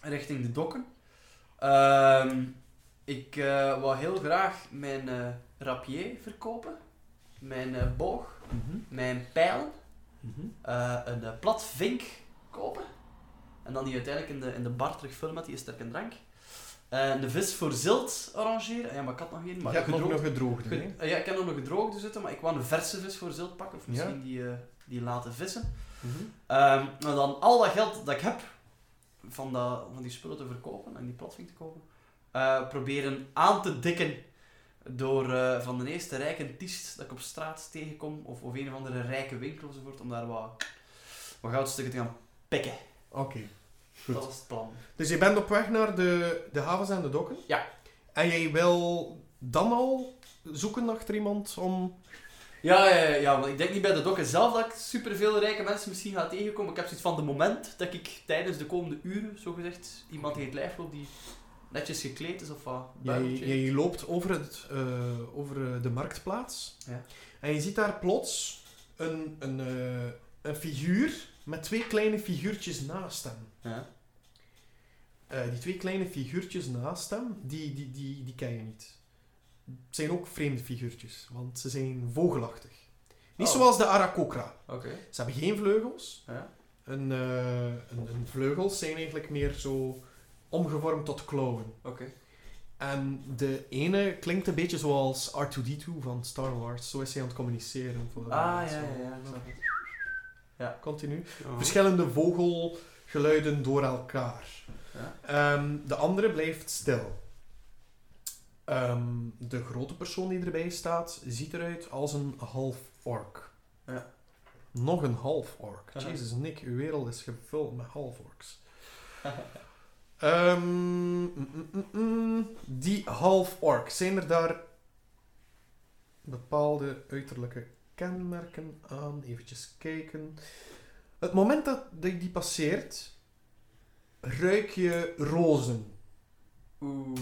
[SPEAKER 7] richting de dokken. Ehm, ik eh wou heel graag mijn eh, rapier verkopen, mijn eh, boog,
[SPEAKER 6] Mhm,
[SPEAKER 7] mijn pijlen, eh, een eh, plat vink kopen en dan die uiteindelijk in de, in de bar terugvullen met die sterke drank. Eh, een vis voor zilt arrangeren. Ah Ja, maar ik had nog geen, maar
[SPEAKER 4] Je hebt nog
[SPEAKER 7] gedroogd.
[SPEAKER 4] nog gedroogd,
[SPEAKER 7] Goed,
[SPEAKER 4] hè?
[SPEAKER 7] eh, ja, ik heb er nog gedroogde zitten, maar ik wou een verse vis voor zilt pakken. Of
[SPEAKER 4] Ja.
[SPEAKER 7] misschien die, eh, die laten vissen.
[SPEAKER 4] Mhm.
[SPEAKER 7] Ehm, maar dan al dat geld dat ik heb van, dat, van die spullen te verkopen en die platform te kopen, eh, proberen aan te dikken door eh, van de eerste rijke tiest dat ik op straat tegenkom, of, of een of andere rijke winkel enzovoort, om daar wat, wat goudstukken te gaan pikken.
[SPEAKER 4] Oké. Goed.
[SPEAKER 7] Dat was het plan.
[SPEAKER 4] Dus je bent op weg naar de, de havens en de dokken?
[SPEAKER 7] Ja.
[SPEAKER 4] En jij wil dan al zoeken achter iemand om...
[SPEAKER 7] Ja, ja, ja, ja, want ik denk niet bij de dokken zelf dat ik superveel rijke mensen misschien ga tegenkomen. Ik heb zoiets van de moment dat ik tijdens de komende uren, zogezegd, iemand tegen het lijf loop die netjes gekleed is of wat.
[SPEAKER 4] Jij,
[SPEAKER 7] buideltje.
[SPEAKER 4] jij loopt over, het, eh, over eh, de marktplaats
[SPEAKER 7] Ja.
[SPEAKER 4] en je ziet daar plots een, een, eh, een figuur met twee kleine figuurtjes naast hem.
[SPEAKER 7] Ja.
[SPEAKER 4] Eh, die twee kleine figuurtjes naast hem, die, die, die, die ken je niet. Het zijn ook vreemde figuurtjes, want ze zijn vogelachtig. Niet
[SPEAKER 7] Oh.
[SPEAKER 4] zoals de Arakokra.
[SPEAKER 7] Oké.
[SPEAKER 4] Ze hebben geen vleugels.
[SPEAKER 7] Ja.
[SPEAKER 4] Een, eh, een, een vleugels zijn eigenlijk meer zo omgevormd tot klauwen.
[SPEAKER 7] Oké.
[SPEAKER 4] En Ehm, de ene klinkt een beetje zoals R2-D2 van Star Wars. Zo is hij aan het communiceren. Voor de
[SPEAKER 7] Ah,
[SPEAKER 4] mensen.
[SPEAKER 7] ja, ja, ja. ik snap het.
[SPEAKER 4] Continu.
[SPEAKER 2] Oh.
[SPEAKER 4] Verschillende vogelgeluiden door elkaar.
[SPEAKER 7] Ja.
[SPEAKER 4] Ehm, de andere blijft stil. Ehm, de grote persoon die erbij staat, ziet eruit als een half-ork.
[SPEAKER 7] Ja.
[SPEAKER 4] Nog een half-ork.
[SPEAKER 7] Aha.
[SPEAKER 4] Jezus, Nick, uw wereld is gevuld met half-orks. Ehm, mm, mm, mm, mm. die half-ork, zijn er daar bepaalde uiterlijke kenmerken aan? Eventjes kijken. Het moment dat dat je die passeert, ruik je rozen.
[SPEAKER 7] Oeh,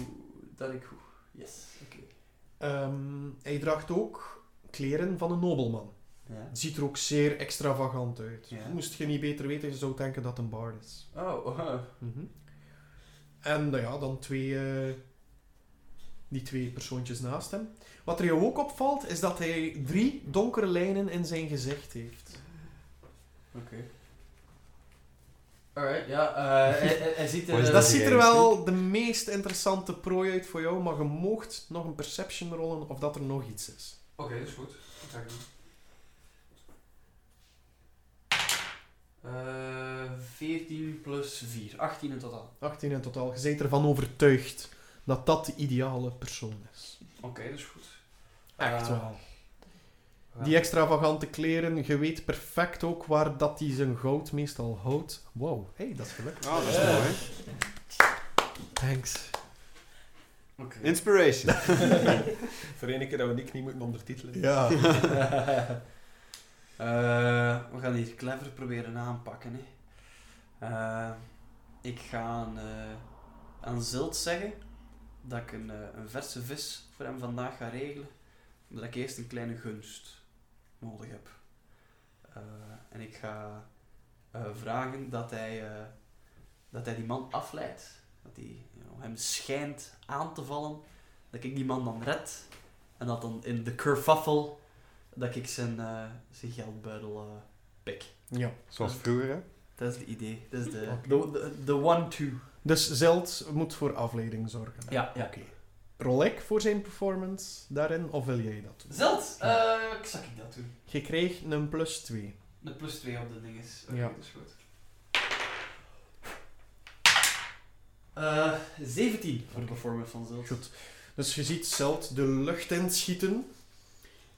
[SPEAKER 7] dat ik goed. Yes, oké.
[SPEAKER 4] Ehm, hij draagt ook kleren van een nobelman.
[SPEAKER 7] Ja.
[SPEAKER 4] Het ziet er ook zeer extravagant uit.
[SPEAKER 7] Ja.
[SPEAKER 4] Moest je niet beter weten, je zou denken dat het een bard is.
[SPEAKER 7] Oh, oh.
[SPEAKER 4] Mhm. En nou ja, dan twee, eh, die twee persoontjes naast hem. Wat er jou ook opvalt, is dat hij drie donkere lijnen in zijn gezicht heeft.
[SPEAKER 7] Alright, ja. eh, hij, hij- hij ziet
[SPEAKER 2] Wat is
[SPEAKER 7] eh,
[SPEAKER 4] dat
[SPEAKER 2] is
[SPEAKER 4] ziet er
[SPEAKER 2] jij
[SPEAKER 4] wel de meest interessante prooi uit voor jou, maar je moogt nog een perception rollen of dat er nog iets is.
[SPEAKER 7] Oké, dat is goed. Dat ga ik doen. Eh, 14 plus 4, 18 in totaal.
[SPEAKER 4] 18 in totaal. Je bent ervan overtuigd dat dat de ideale persoon is.
[SPEAKER 7] Oké, dat is goed.
[SPEAKER 4] Echt
[SPEAKER 7] Eh,
[SPEAKER 4] wel.
[SPEAKER 7] ja.
[SPEAKER 4] Die extravagante kleren, je weet perfect ook waar dat hij zijn goud meestal houdt. Wow, hé, hey, dat is gelukt.
[SPEAKER 2] Oh, dat is
[SPEAKER 6] Ja.
[SPEAKER 2] mooi.
[SPEAKER 4] Thanks.
[SPEAKER 7] Oké.
[SPEAKER 2] Inspiration.
[SPEAKER 6] Voor één keer dat we Nick niet moeten ondertitelen.
[SPEAKER 4] Ja.
[SPEAKER 7] Eh, we gaan hier clever proberen aanpakken. Hè. Eh, ik ga aan, eh, aan Zilt zeggen dat ik een, eh, een verse vis voor hem vandaag ga regelen. Omdat ik eerst een kleine gunst nodig heb. Eh, en ik ga eh, vragen dat hij, eh, dat hij die man afleidt. Dat hij you know, hem schijnt aan te vallen. Dat ik die man dan red. En dat dan in de kerfuffle dat ik zijn, eh, zijn geldbuidel eh, pik.
[SPEAKER 4] ja.
[SPEAKER 2] Zoals vroeger, hè?
[SPEAKER 7] Dat is het idee. Dat is de,
[SPEAKER 4] Oké.
[SPEAKER 7] de, de, de one-two.
[SPEAKER 4] Dus Zeld moet voor afleiding zorgen. hè?
[SPEAKER 7] Ja, ja.
[SPEAKER 4] Oké. Rol ik voor zijn performance daarin, of wil jij dat doen?
[SPEAKER 7] Zeld, eh, ik zag ik dat doen.
[SPEAKER 4] Je kreeg een plus 2.
[SPEAKER 7] Met plus 2 op de ding is. Oké,
[SPEAKER 4] Ja.
[SPEAKER 7] dat is goed. Eh, 17 voor de performance van Zeld.
[SPEAKER 4] Goed. Dus je ziet Zeld de lucht inschieten.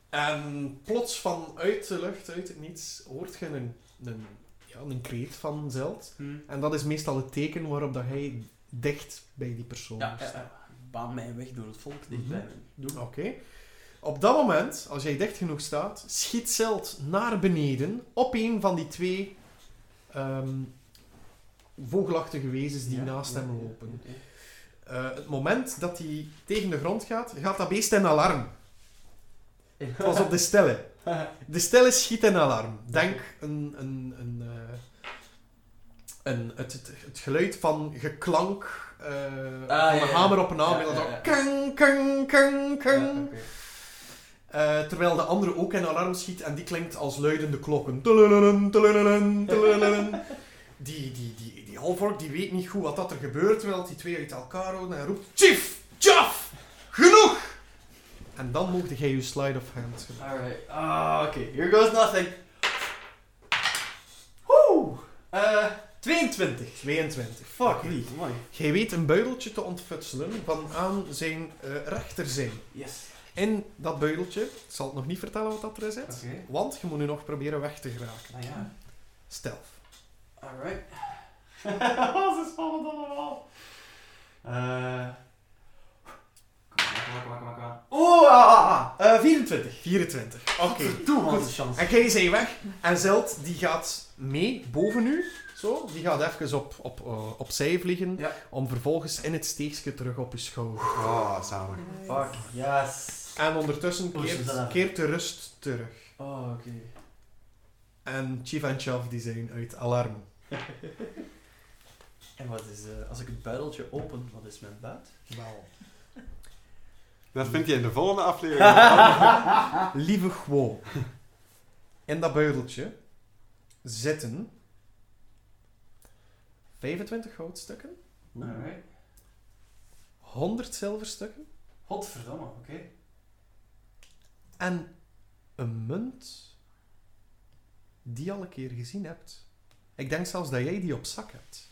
[SPEAKER 4] En plots vanuit de lucht, uit het niets, hoort je een, een, ja, een kreet van Zeld.
[SPEAKER 7] Hm.
[SPEAKER 4] En dat is meestal het teken waarop dat hij dicht bij die persoon
[SPEAKER 7] Ja, ja,
[SPEAKER 4] staat.
[SPEAKER 7] ja. baan mij een weg door het volk
[SPEAKER 4] Mhm.
[SPEAKER 7] dichtbij. me. Doe.
[SPEAKER 4] Oké. Op dat moment, als jij dicht genoeg staat, schiet Zeld naar beneden op een van die twee ehm, vogelachtige wezens Dus die
[SPEAKER 7] Ja,
[SPEAKER 4] naast
[SPEAKER 7] ja,
[SPEAKER 4] hem
[SPEAKER 7] ja,
[SPEAKER 4] lopen.
[SPEAKER 7] ja, ja.
[SPEAKER 4] Eh, het moment dat hij tegen de grond gaat, gaat dat beest in alarm. Het was op de stille. De stille schiet in alarm. Denk een, een, een, eh, een, het, het, het geluid van geklank eh,
[SPEAKER 7] Ah,
[SPEAKER 4] van
[SPEAKER 7] ja,
[SPEAKER 4] een
[SPEAKER 7] ja.
[SPEAKER 4] hamer op een naam.
[SPEAKER 7] Ja, ja,
[SPEAKER 4] zo
[SPEAKER 7] ja.
[SPEAKER 4] kang, kang, kang, kang.
[SPEAKER 7] Ja, oké.
[SPEAKER 4] Eh, terwijl de andere ook in alarm schiet en die klinkt als luidende klokken. Tulululum, tulululum, tulululum. Die, die, die, die halvork die weet niet goed wat dat er gebeurt, terwijl die twee uit elkaar houden en hij roept Chief! Jaf! Genoeg! En dan mocht jij je slide of hand gebruiken.
[SPEAKER 7] Alright. Ah, oké. Here goes nothing. Woe! Eh, 22.
[SPEAKER 4] 22.
[SPEAKER 7] Fuck me. Mooi.
[SPEAKER 4] Jij weet een buideltje te ontfutselen van aan zijn eh, rechterzij.
[SPEAKER 7] Yes.
[SPEAKER 4] In dat buideltje, ik zal het nog niet vertellen wat dat er
[SPEAKER 7] Oké.
[SPEAKER 4] zit, want je moet nu nog proberen weg te geraken.
[SPEAKER 7] Nou ja.
[SPEAKER 4] Stealth.
[SPEAKER 7] Alright. Ze spannend allemaal. Eh. Kom maar, kom maar, kom maar, kom maar. ah.
[SPEAKER 4] Eh, 24. 24. Oké.
[SPEAKER 7] Toe, wat
[SPEAKER 4] Goed.
[SPEAKER 7] een chance.
[SPEAKER 4] En jij zij weg. En Zeld, die gaat mee boven u. Zo. Die gaat even op, op, eh, opzij vliegen.
[SPEAKER 7] Ja.
[SPEAKER 4] Om vervolgens in het steegje terug op je schouder.
[SPEAKER 2] Oh, zalig.
[SPEAKER 7] Fuck, yes.
[SPEAKER 4] En ondertussen
[SPEAKER 7] Hoe is het
[SPEAKER 4] keert,
[SPEAKER 7] dan?
[SPEAKER 4] keert de rust terug.
[SPEAKER 7] Oh, oké.
[SPEAKER 4] En Chief en Chav die zijn uit alarm.
[SPEAKER 7] En wat is, eh, als ik het buideltje open, wat is mijn buit?
[SPEAKER 4] Wel.
[SPEAKER 2] Dat vind je in de volgende aflevering.
[SPEAKER 4] Lieve Gwo. In dat buideltje zitten 25 goudstukken.
[SPEAKER 7] Alright.
[SPEAKER 4] 100 zilverstukken
[SPEAKER 7] Godverdamme, oké.
[SPEAKER 4] en een munt die je al een keer gezien hebt. Ik denk zelfs dat jij die op zak hebt.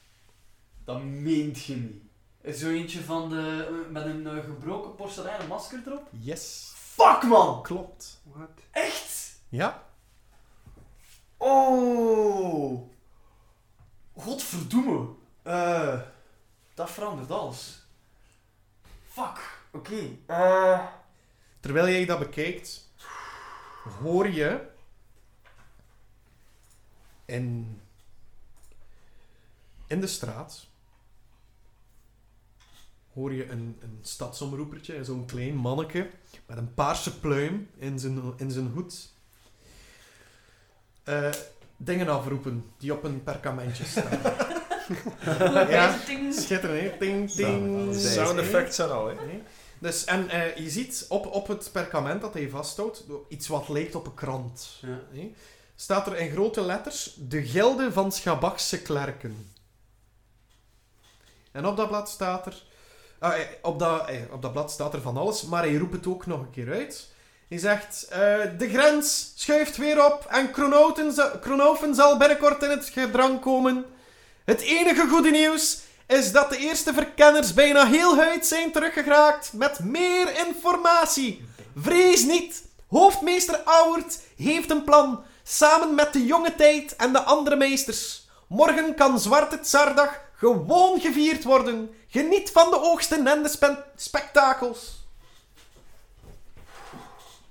[SPEAKER 7] Dat meent je niet. Is Zo eentje van de, met een eh, gebroken porseleinen masker erop?
[SPEAKER 4] Yes.
[SPEAKER 7] Fuck man!
[SPEAKER 4] Klopt.
[SPEAKER 2] Wat?
[SPEAKER 7] Echt?
[SPEAKER 4] Ja,
[SPEAKER 7] Oh! Godverdomme! Eh, dat verandert alles. Fuck! Oké. Eh,
[SPEAKER 4] terwijl jij dat bekijkt, hoor je in, in de straat hoor je een, een stadsomroepertje, zo'n klein manneke met een paarse pluim in zijn, in zijn hoed. Eh, dingen afroepen die op een perkamentje staan. ja, schitterend, hè? Ting, ting.
[SPEAKER 2] Zalig.
[SPEAKER 6] Sound effects en al, hè.
[SPEAKER 4] Nee. Dus, en eh, je ziet op, op het perkament dat hij vasthoudt, iets wat lijkt op een krant.
[SPEAKER 7] ja.
[SPEAKER 4] Nee, staat er in grote letters de gilde van Schabachse klerken. En op dat blad staat er... ah, eh, op, dat, eh, op dat blad staat er van alles, maar hij roept het ook nog een keer uit. Hij zegt, eh, de grens schuift weer op en Kronoten za- Kronoven zal binnenkort in het gedrang komen. Het enige goede nieuws is dat de eerste verkenners bijna heel huid zijn teruggeraakt met meer informatie. Vrees niet, Hoofdmeester Auwert heeft een plan, samen met de jonge tijd en de andere meesters. Morgen kan Zwarte Tsardag gewoon gevierd worden. Geniet van de oogsten en de spen- spektakels.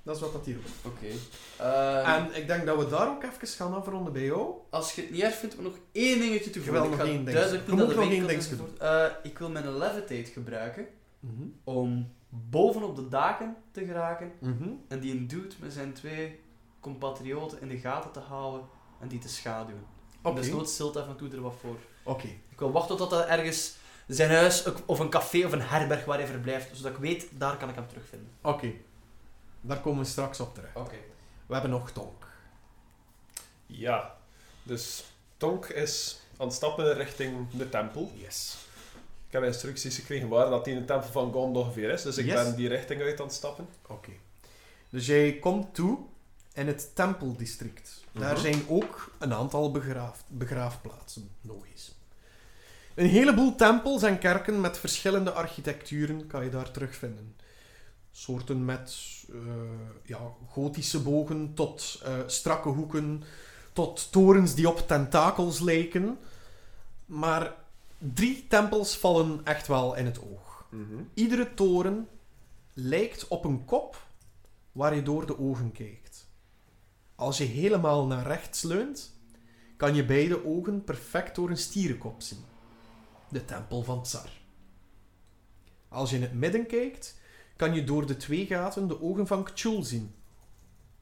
[SPEAKER 4] Dat is wat dat hier doet.
[SPEAKER 7] Oké. Eh,
[SPEAKER 4] En ik denk dat we daar ook even gaan afronden bij jou.
[SPEAKER 7] Als je het niet erg vindt, om nog één dingetje toe
[SPEAKER 4] Jawel,
[SPEAKER 7] Ik
[SPEAKER 4] nog
[SPEAKER 7] ga
[SPEAKER 4] één ding.
[SPEAKER 7] duidelijk
[SPEAKER 4] Je
[SPEAKER 7] doen
[SPEAKER 4] moet
[SPEAKER 7] dat de
[SPEAKER 4] nog één
[SPEAKER 7] winkel
[SPEAKER 4] dingetje
[SPEAKER 7] enzovoort. Eh, ik wil mijn levitate gebruiken
[SPEAKER 4] Mhm.
[SPEAKER 7] om bovenop de daken te geraken
[SPEAKER 4] Mhm.
[SPEAKER 7] en die een dude met zijn twee compatrioten in de gaten te houden en die te schaduwen.
[SPEAKER 4] Oké.
[SPEAKER 7] Dus nooit stilt af en toe er wat voor.
[SPEAKER 4] Oké.
[SPEAKER 7] Ik wil wachten tot dat ergens zijn huis of een café of een herberg waar hij verblijft, zodat ik weet, daar kan ik hem terugvinden.
[SPEAKER 4] Oké. Daar komen we straks op terug.
[SPEAKER 7] Oké.
[SPEAKER 4] We hebben nog Tonk.
[SPEAKER 6] Ja. Dus Tonk is aan het stappen richting de tempel.
[SPEAKER 4] Yes.
[SPEAKER 6] Ik heb instructies gekregen waar dat die in de tempel van Gond ongeveer is. Dus ik
[SPEAKER 4] Yes.
[SPEAKER 6] ben die richting uit aan het stappen.
[SPEAKER 4] Oké. Dus jij komt toe in het tempeldistrict. Daar
[SPEAKER 6] Mhm.
[SPEAKER 4] zijn ook een aantal begraaf, begraafplaatsen. Nog eens. Een heleboel tempels en kerken met verschillende architecturen kan je daar terugvinden. Soorten met eh, ja, gotische bogen tot eh, strakke hoeken, tot torens die op tentakels lijken. Maar drie tempels vallen echt wel in het oog.
[SPEAKER 6] Mhm.
[SPEAKER 4] Iedere toren lijkt op een kop waar je door de ogen kijkt. Als je helemaal naar rechts leunt, kan je beide ogen perfect door een stierenkop zien. De tempel van Tsar. Als je in het midden kijkt, kan je door de twee gaten de ogen van Kchul zien.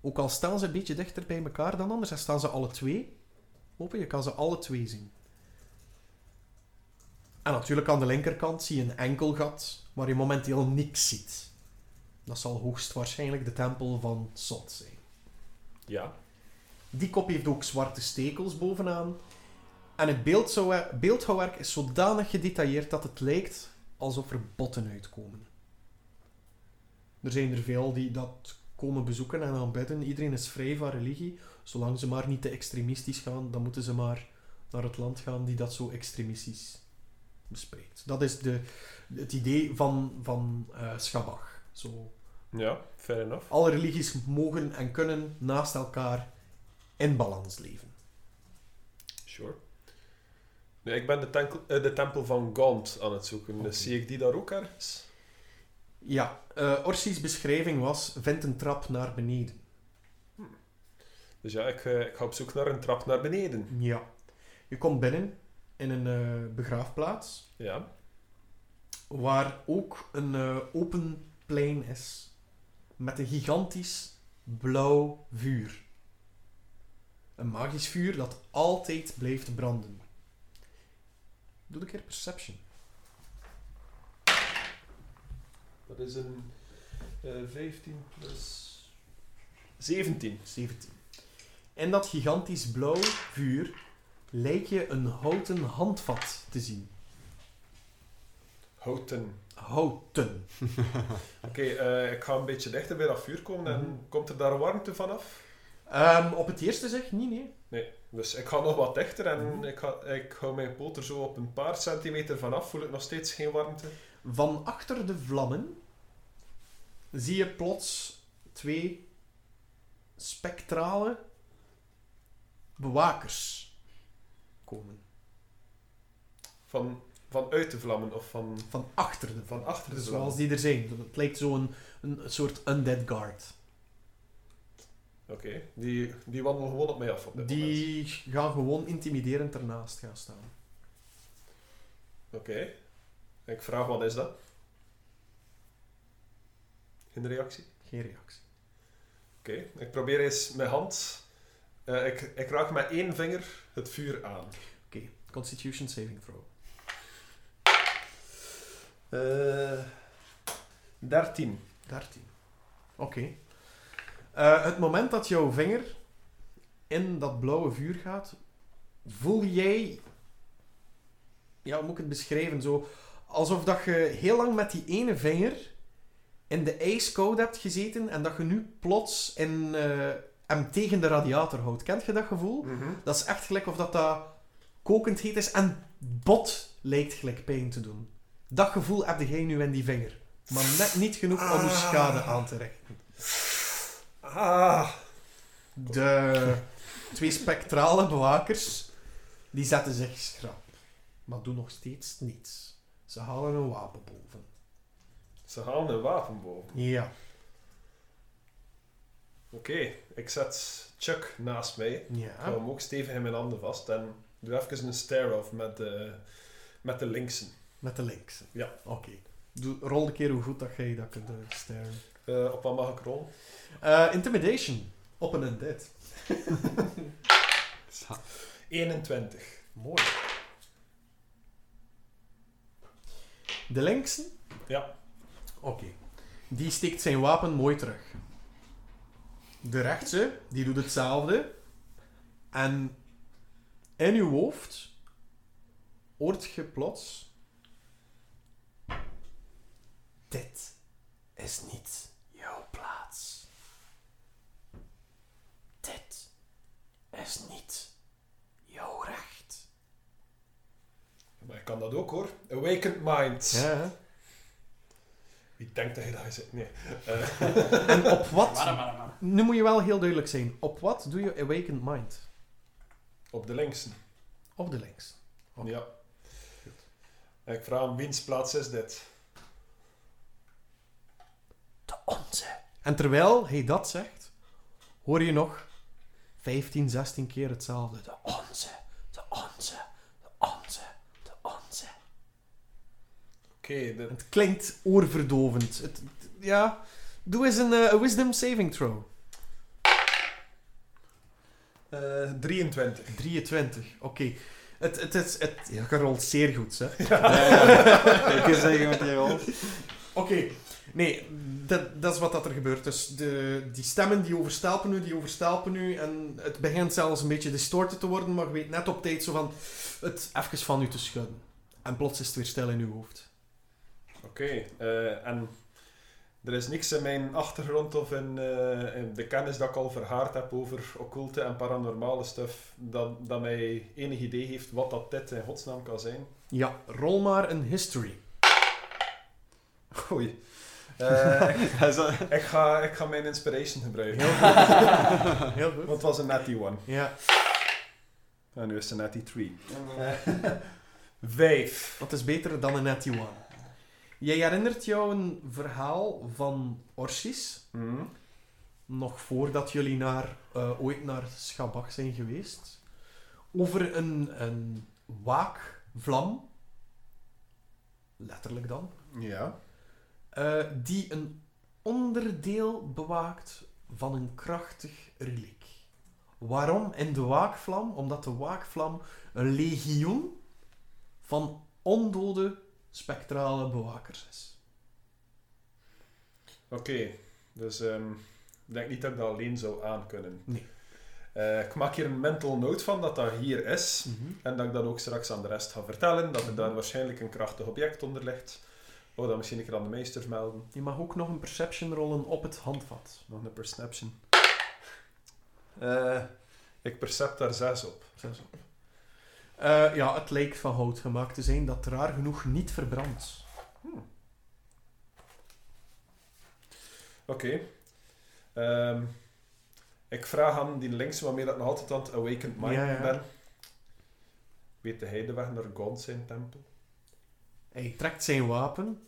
[SPEAKER 4] Ook al staan ze een beetje dichter bij elkaar dan anders, dan staan ze alle twee open. Je kan ze alle twee zien. En natuurlijk aan de linkerkant zie je een enkel gat waar je momenteel niks ziet. Dat zal hoogstwaarschijnlijk de tempel van Sot zijn.
[SPEAKER 6] Ja.
[SPEAKER 4] Die kop heeft ook zwarte stekels bovenaan. En het beeldzou- beeldhouwwerk is zodanig gedetailleerd dat het lijkt alsof er botten uitkomen. Er zijn er veel die dat komen bezoeken en aanbidden. Iedereen is vrij van religie. Zolang ze maar niet te extremistisch gaan, dan moeten ze maar naar het land gaan die dat zo extremistisch bespreekt. Dat is de, het idee van, van eh Schabach. Zo
[SPEAKER 6] Ja, fair enough.
[SPEAKER 4] alle religies mogen en kunnen naast elkaar in balans leven.
[SPEAKER 6] Sure. Nee, ik ben de, tenkel- eh, de tempel van Gaunt aan het zoeken. Dus zie ik die daar ook ergens?
[SPEAKER 4] Ja, eh, Orsi's beschrijving was: vind een trap naar beneden.
[SPEAKER 6] Dus ja, ik, eh, ik ga op zoek naar een trap naar beneden.
[SPEAKER 4] Ja. Je komt binnen in een eh, begraafplaats
[SPEAKER 6] Ja.
[SPEAKER 4] waar ook een eh, open plein is met een gigantisch blauw vuur. Een magisch vuur dat altijd blijft branden. Doe een keer perception.
[SPEAKER 6] Dat is een eh 15 plus 17.
[SPEAKER 4] 17. In dat gigantisch blauw vuur lijkt je een houten handvat te zien.
[SPEAKER 6] Houten.
[SPEAKER 4] Houten.
[SPEAKER 6] Oké, eh, ik ga een beetje dichter bij dat vuur komen en
[SPEAKER 4] Mhm.
[SPEAKER 6] komt er daar warmte vanaf?
[SPEAKER 4] Ehm, op het eerste zeg niet, nee.
[SPEAKER 6] Dus ik ga nog wat dichter en
[SPEAKER 4] Mhm.
[SPEAKER 6] ik, ga, ik hou mijn poot er zo op een paar centimeter vanaf. Voel ik nog steeds geen warmte?
[SPEAKER 4] Van achter de vlammen zie je plots twee spectrale bewakers komen.
[SPEAKER 6] Van, van uit de vlammen of van,
[SPEAKER 4] Van achter de
[SPEAKER 6] van
[SPEAKER 4] vlammen.
[SPEAKER 6] achter de vlammen?
[SPEAKER 4] Zoals die er zijn. Het lijkt zo'n een, soort undead guard.
[SPEAKER 6] Oké, die, die wandelen gewoon op mij af op dit moment.
[SPEAKER 4] Die gaan gewoon intimiderend ernaast gaan staan.
[SPEAKER 6] Oké. Ik vraag, wat is dat? Geen reactie?
[SPEAKER 4] Geen reactie.
[SPEAKER 6] Oké. Ik probeer eens mijn hand... eh, ik, ik raak met één vinger het vuur aan.
[SPEAKER 4] Oké, Constitution saving throw.
[SPEAKER 6] Eh, 13.
[SPEAKER 4] 13. Oké. Eh, het moment dat jouw vinger in dat blauwe vuur gaat, voel jij. Ja, hoe moet ik het beschrijven? Zo, alsof dat je heel lang met die ene vinger in de ijskoude hebt gezeten en dat je nu plots in, eh, hem tegen de radiator houdt. Kent je dat gevoel? Dat is echt gelijk of dat, dat kokend heet is en bot lijkt gelijk pijn te doen. Dat gevoel heb jij nu in die vinger. Maar net niet genoeg om er schade aan te richten.
[SPEAKER 6] Ah.
[SPEAKER 4] De twee spectrale bewakers, die zetten zich schrap. Maar doen nog steeds niets. Ze halen een wapen boven.
[SPEAKER 6] Ze halen een wapen boven.
[SPEAKER 4] Ja.
[SPEAKER 6] Oké. Ik zet Chuck naast mij. Ik hou
[SPEAKER 4] Ja.
[SPEAKER 6] hem ook stevig in mijn handen vast. En doe even een stare-off met de, met de linksen.
[SPEAKER 4] Met de links.
[SPEAKER 6] Ja.
[SPEAKER 4] Oké. Doe- Rol een keer hoe goed dat jij dat kunt eh, sterren.
[SPEAKER 6] Eh, op wat mag ik rollen?
[SPEAKER 4] Eh, intimidation. Op een undead.
[SPEAKER 6] 21.
[SPEAKER 4] Mooi. De linksen?
[SPEAKER 6] Ja.
[SPEAKER 4] Oké. Die steekt zijn wapen mooi terug. De rechtse, die doet hetzelfde. En in uw hoofd hoort je plots... Dit is niet jouw plaats. Dit is niet jouw recht.
[SPEAKER 6] Maar ik kan dat ook hoor. Awakened Minds.
[SPEAKER 4] Ja.
[SPEAKER 6] Wie denkt dat je daar zit? Nee. Eh,
[SPEAKER 4] En op wat...
[SPEAKER 11] Warm, warm, warm.
[SPEAKER 4] Nu moet je wel heel duidelijk zijn. Op wat doe je Awakened Mind?
[SPEAKER 6] op de linksen.
[SPEAKER 4] Op de links. Oké.
[SPEAKER 6] Ja. En ik vraag hem, wiens plaats is dit?
[SPEAKER 4] De onze. En terwijl hij dat zegt, hoor je nog 15, 16 keer hetzelfde. De onze, de onze, de onze, de onze.
[SPEAKER 6] Oké, de-
[SPEAKER 4] Het klinkt oorverdovend. Het, het- ja, doe eens een eh, wisdom saving throw.
[SPEAKER 6] eh, 23.
[SPEAKER 4] 23, oké. Het, het, is het, ja, je rolt zeer goed, hè.
[SPEAKER 2] Ik kan zeggen wat je rolt.
[SPEAKER 4] Oké. Nee, dat, dat is wat dat er gebeurt. Dus de, die stemmen die overstelpen nu, die overstelpen nu. En het begint zelfs een beetje distorted te worden, maar je weet net op tijd zo van het even van u te schudden. En plots is het weer stil in uw hoofd.
[SPEAKER 6] Oké, eh, en er is niks in mijn achtergrond of in, eh, in de kennis dat ik al verhaard heb over occulte en paranormale stuff, dat, dat mij enig idee heeft wat dat dit in godsnaam kan zijn.
[SPEAKER 4] Ja, rol maar een history.
[SPEAKER 6] Oei. Eh, ik,
[SPEAKER 2] Hij zo-
[SPEAKER 6] ik ga, ik ga mijn inspiration gebruiken.
[SPEAKER 4] Heel goed. Heel
[SPEAKER 6] Want
[SPEAKER 4] goed.
[SPEAKER 6] het was een natty one.
[SPEAKER 4] Ja,
[SPEAKER 6] En nu is het een natty 3. Vijf.
[SPEAKER 4] dat is beter dan een natty one. Jij herinnert jou een verhaal van Orsis.
[SPEAKER 6] Mhm.
[SPEAKER 4] nog voordat jullie naar, eh, ooit naar Schabak zijn geweest, over een, een waakvlam, letterlijk dan,
[SPEAKER 6] Ja.
[SPEAKER 4] eh, die een onderdeel bewaakt van een krachtig reliek. Waarom in de waakvlam? Omdat de waakvlam een legioen van ondode spectrale bewakers is.
[SPEAKER 6] Oké, dus ehm, ik denk niet dat ik dat alleen zou aankunnen.
[SPEAKER 4] Nee.
[SPEAKER 6] Eh, ik maak hier een mental note van dat dat hier is.
[SPEAKER 4] Mhm.
[SPEAKER 6] En dat ik dat ook straks aan de rest ga vertellen. Dat er daar waarschijnlijk een krachtig object onder ligt. Oh, dat misschien een keer aan de meester melden.
[SPEAKER 4] Je mag ook nog een perception rollen op het handvat.
[SPEAKER 6] Nog een perception. Eh, ik percept daar zes op.
[SPEAKER 4] Zes op. Eh, ja, het lijkt van hout gemaakt te zijn dat raar genoeg niet verbrandt.
[SPEAKER 6] Oké. Ehm, ik vraag aan die links waarmee dat ik nog altijd aan het Awakened Mind
[SPEAKER 4] Ja, ja.
[SPEAKER 6] ben. Weet hij de weg naar God zijn tempel?
[SPEAKER 4] Hij trekt zijn wapen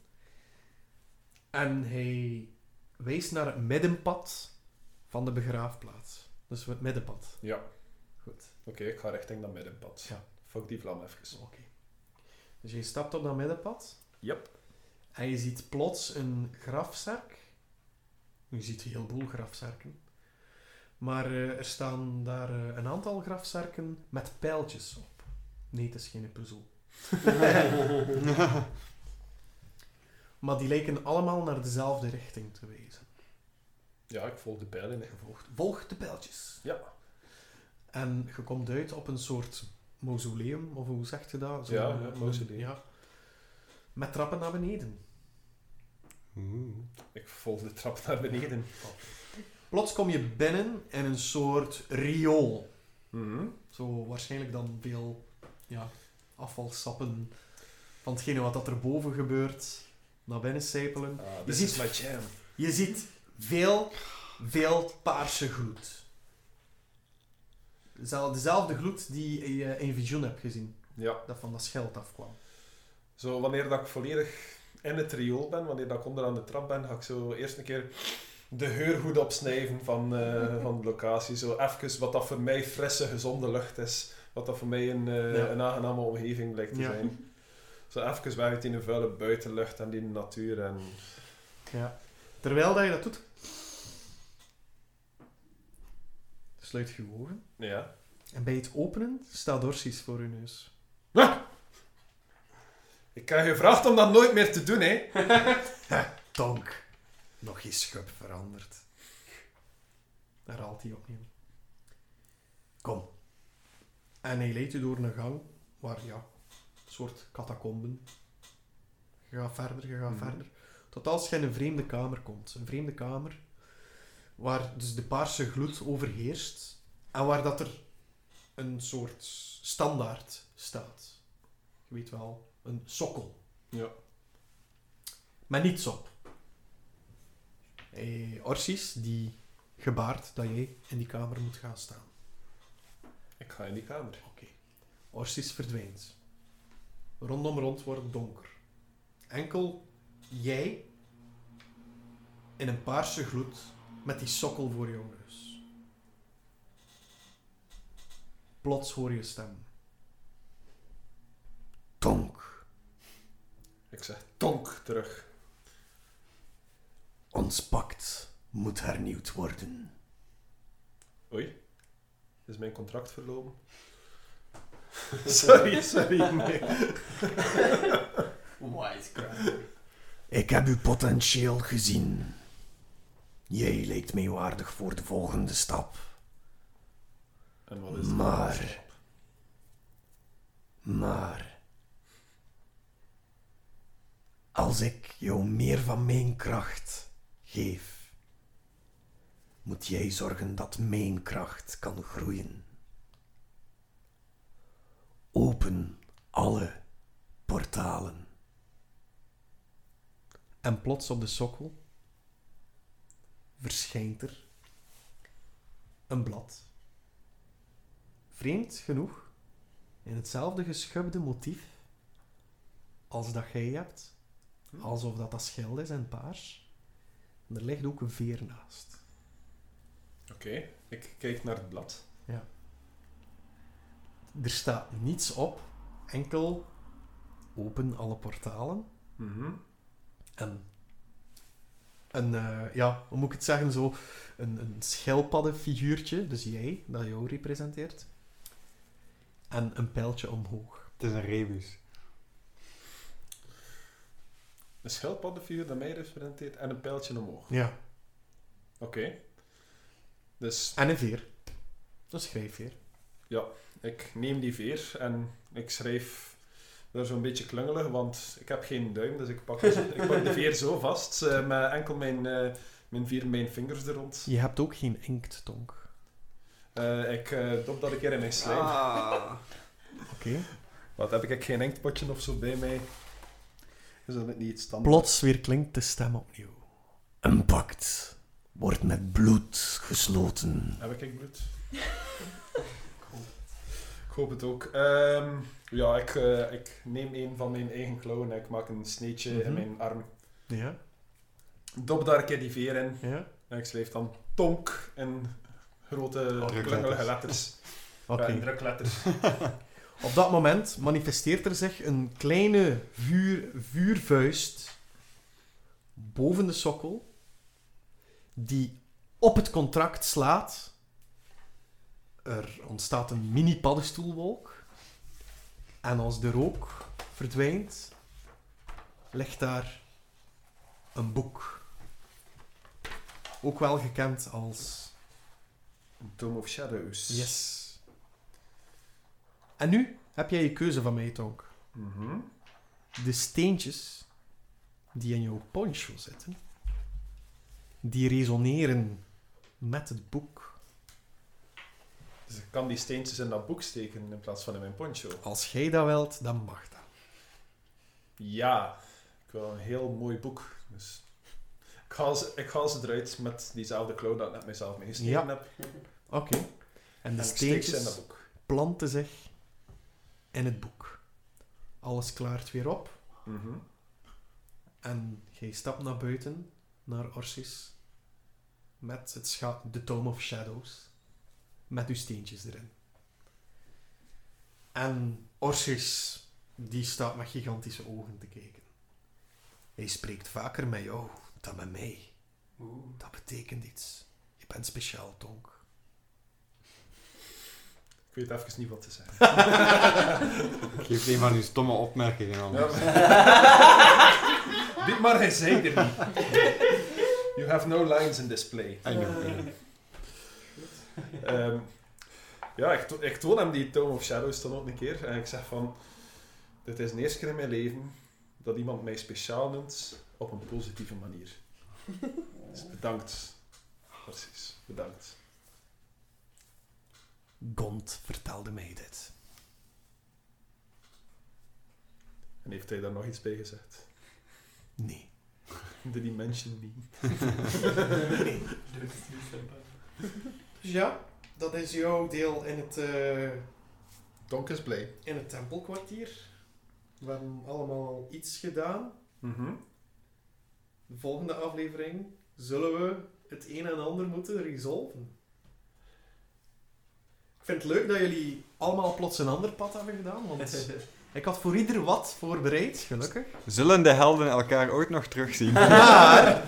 [SPEAKER 4] en hij wijst naar het middenpad van de begraafplaats. Dus het middenpad.
[SPEAKER 6] Ja.
[SPEAKER 4] Goed.
[SPEAKER 6] Oké, ik ga richting dat middenpad.
[SPEAKER 4] Ja.
[SPEAKER 6] Fuck die vlam even.
[SPEAKER 4] Oké. Dus je stapt op dat middenpad.
[SPEAKER 6] Yep.
[SPEAKER 4] En je ziet plots een grafzerk. Je ziet een heleboel grafzerken. Maar eh, er staan daar eh, een aantal grafzerken met pijltjes op. Nee, het is geen puzzel. maar die lijken allemaal naar dezelfde richting te wezen.
[SPEAKER 6] Ja, ik volg de pijl in.
[SPEAKER 4] Volg, volg de pijltjes.
[SPEAKER 6] Ja.
[SPEAKER 4] En je komt uit op een soort mausoleum, of hoe zegt je dat? Zo'n-
[SPEAKER 6] Ja, ja, mausoleum.
[SPEAKER 4] Ja. Met trappen naar beneden.
[SPEAKER 2] Mm.
[SPEAKER 6] Ik volg de trap naar beneden.
[SPEAKER 4] Plots kom je binnen in een soort riool.
[SPEAKER 6] Mhm.
[SPEAKER 4] Zo waarschijnlijk dan veel ja, afvalsappen van hetgene wat dat erboven gebeurt naar binnen sijpelen.
[SPEAKER 6] Ah,
[SPEAKER 4] Je
[SPEAKER 6] this
[SPEAKER 4] ziet-
[SPEAKER 6] is my jam.
[SPEAKER 4] Je ziet veel, veel paarse gloed. Zel- Dezelfde gloed die je in Vision hebt gezien,
[SPEAKER 6] Ja.
[SPEAKER 4] dat van dat scheld afkwam.
[SPEAKER 6] Zo, wanneer dat ik volledig in het riool ben, wanneer dat ik onderaan de trap ben, ga ik zo eerst een keer de geur goed opsnijven van, eh, van de locatie. Zo even wat dat voor mij frisse, gezonde lucht is. Wat dat voor mij een, eh,
[SPEAKER 4] Ja.
[SPEAKER 6] een aangename omgeving lijkt te
[SPEAKER 4] Ja.
[SPEAKER 6] zijn. Zo even weg uit die vuile buitenlucht en die natuur. En...
[SPEAKER 4] Ja. Terwijl dat je dat doet, sluit je ogen.
[SPEAKER 6] Ja.
[SPEAKER 4] En bij het openen staat Dorsis voor uw neus.
[SPEAKER 6] Ik krijg gevraagd om dat nooit meer te doen, hè.
[SPEAKER 4] Tonk. Nog geen schub veranderd. Daar haalt hij opnieuw. Kom. En hij leidt u door een gang waar, ja, een soort catacomben. Je gaat verder, je gaat
[SPEAKER 6] Mhm.
[SPEAKER 4] verder. Tot als je in een vreemde kamer komt. Een vreemde kamer waar dus de paarse gloed overheerst en waar dat er een soort standaard staat. Je weet wel, een sokkel.
[SPEAKER 6] Ja.
[SPEAKER 4] Maar niets op. Eh, Orsis, die gebaart dat jij in die kamer moet gaan staan.
[SPEAKER 6] Ik ga in die kamer.
[SPEAKER 4] Oké. Orsis verdwijnt. Rondom rond wordt het donker. Enkel jij in een paarse gloed met die sokkel voor jouw neus. Plots hoor je stem. Tonk,
[SPEAKER 6] Ik zeg tonk terug.
[SPEAKER 4] ons pact moet hernieuwd worden.
[SPEAKER 6] Oei. Is mijn contract verlopen? sorry, sorry. Nee.
[SPEAKER 7] Wisecrack.
[SPEAKER 1] Ik heb uw potentieel gezien. Jij lijkt mij waardig voor de volgende stap.
[SPEAKER 6] En wat is de
[SPEAKER 1] Maar-
[SPEAKER 6] volgende stap?
[SPEAKER 1] Maar als ik jou meer van mijn kracht geef, moet jij zorgen dat mijn kracht kan groeien. Open alle portalen.
[SPEAKER 4] En plots op de sokkel verschijnt er een blad. Vreemd genoeg, in hetzelfde geschubde motief als dat jij hebt, Alsof dat dat schild is en paars. En er ligt ook een veer naast.
[SPEAKER 6] Oké, ik kijk naar het blad.
[SPEAKER 4] Er staat niets op, enkel open alle portalen.
[SPEAKER 6] Mhm.
[SPEAKER 4] En een, eh, ja, hoe moet ik het zeggen, zo een, een schildpaddenfiguurtje, dus jij, dat jou representeert. En een pijltje omhoog.
[SPEAKER 2] Het is een rebus.
[SPEAKER 6] Een schildpaddenfiguur dat mij representeert en een pijltje omhoog.
[SPEAKER 4] Ja.
[SPEAKER 6] Oké. Dus
[SPEAKER 4] En een veer. Een schrijfveer.
[SPEAKER 6] ik neem die veer en ik schrijf er zo'n beetje klungelig, want ik heb geen duim, dus ik pak, ik pak de veer zo vast, eh, met enkel mijn, eh, mijn vier mijn vingers er rond.
[SPEAKER 4] Je hebt ook geen inkttonk.
[SPEAKER 6] Eh, ik eh dop dat een keer in mijn slijm.
[SPEAKER 2] Ah.
[SPEAKER 4] Oké.
[SPEAKER 6] Wat heb ik? Ik geen inktpotje of zo bij mij. Is dat niet standaard?
[SPEAKER 4] Plots weer klinkt de stem opnieuw.
[SPEAKER 1] Een pact wordt met bloed gesloten.
[SPEAKER 6] Heb ik bloed? ik hoop het ook. Ehm, ja, ik, eh, ik neem een van mijn eigen klauwen en ik maak een sneetje
[SPEAKER 4] Mhm.
[SPEAKER 6] in mijn arm.
[SPEAKER 4] Ja,
[SPEAKER 6] Dop daar een keer die veer in
[SPEAKER 4] ja.
[SPEAKER 6] en ik schrijf dan tonk in grote
[SPEAKER 2] Drukletters.
[SPEAKER 6] klungelige letters.
[SPEAKER 4] Oké.
[SPEAKER 6] Ja, in drukletters.
[SPEAKER 4] Op dat moment manifesteert er zich een kleine vuur, vuurvuist boven de sokkel, die op het contract slaat. Er ontstaat een mini-paddenstoelwolk. En als de rook verdwijnt, ligt daar een boek. Ook wel gekend als
[SPEAKER 6] Dome of Shadows.
[SPEAKER 4] Yes. En nu heb jij je keuze van mij, Tonk.
[SPEAKER 6] Mhm.
[SPEAKER 4] De steentjes die in jouw poncho zitten, die resoneren met het boek.
[SPEAKER 6] Dus ik kan die steentjes in dat boek steken in plaats van in mijn poncho.
[SPEAKER 4] Als jij dat wilt, dan mag dat.
[SPEAKER 6] Ja, ik wil een heel mooi boek. Dus ik haal ze, ik haal ze eruit met diezelfde klauw dat ik net mezelf meegeschreven
[SPEAKER 4] Ja.
[SPEAKER 6] heb.
[SPEAKER 4] Oké. En de
[SPEAKER 6] En ik steek ze in dat
[SPEAKER 4] steentjes
[SPEAKER 6] boek.
[SPEAKER 4] planten zich in het boek. Alles klaart weer op.
[SPEAKER 6] Mhm.
[SPEAKER 4] En jij stapt naar buiten, naar Orsis. Met het scha- de Tome of Shadows. Met uw steentjes erin. En Orsis, die staat met gigantische ogen te kijken. Hij spreekt vaker met jou dan met mij. Dat betekent iets. Je bent speciaal, Tonk.
[SPEAKER 6] Ik weet even niet wat te zeggen.
[SPEAKER 2] Geef een van uw stomme opmerkingen aan.
[SPEAKER 6] Ja. Dit maar hij zeker niet. You have no lines in display.
[SPEAKER 2] I know, I know.
[SPEAKER 6] Ehm, ja, ik, to- ik toon hem die Tome of Shadows dan ook een keer. En ik zeg van... Dit is de eerste keer in mijn leven dat iemand mij speciaal noemt op een positieve manier. Dus bedankt. Precies, bedankt.
[SPEAKER 4] Gond vertelde mij dit.
[SPEAKER 6] En heeft hij daar nog iets bij gezegd?
[SPEAKER 4] Nee.
[SPEAKER 6] De dimension niet.
[SPEAKER 4] Dus ja, dat is jouw deel in het... eh,
[SPEAKER 6] Donk is blij.
[SPEAKER 4] in het tempelkwartier. We hebben allemaal iets gedaan.
[SPEAKER 6] Mhm.
[SPEAKER 4] De volgende aflevering zullen we het een en ander moeten resolven. Ik vind het leuk dat jullie allemaal plots een ander pad hebben gedaan, want ik had voor ieder wat voorbereid, gelukkig.
[SPEAKER 2] Zullen de helden elkaar ooit nog terugzien?
[SPEAKER 4] Maar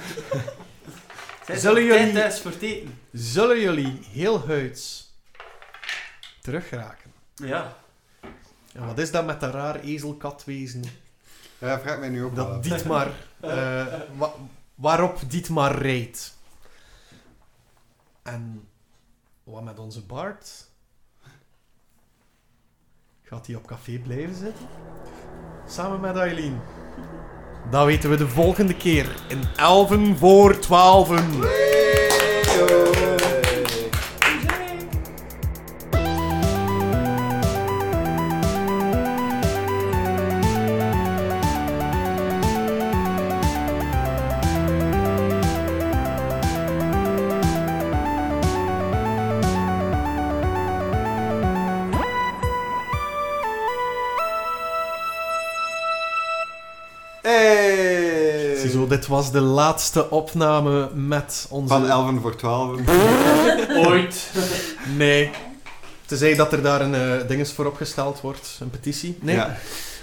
[SPEAKER 7] Zij
[SPEAKER 4] Zullen
[SPEAKER 7] zijn
[SPEAKER 4] jullie-
[SPEAKER 7] thuis voor het eten.
[SPEAKER 4] zullen jullie heel huids terugraken?
[SPEAKER 7] Ja.
[SPEAKER 4] En wat is dat met dat raar ezelkatwezen?
[SPEAKER 2] Ja, vraag mij nu ook wel
[SPEAKER 4] dat
[SPEAKER 2] af.
[SPEAKER 4] Dietmar, eh, wa- waarop Dietmar reed. En wat met onze Bart? Gaat hij op café blijven zitten? Samen met Eileen. Dat weten we de volgende keer in Elven voor 12.
[SPEAKER 2] Hey!
[SPEAKER 4] Ziezo, dit was de laatste opname met onze...
[SPEAKER 2] Van 11 voor 12.
[SPEAKER 7] Ooit.
[SPEAKER 4] Nee. Tenzij dat er daar een eh dinges voor opgesteld wordt. Een petitie. Nee.
[SPEAKER 2] Ja.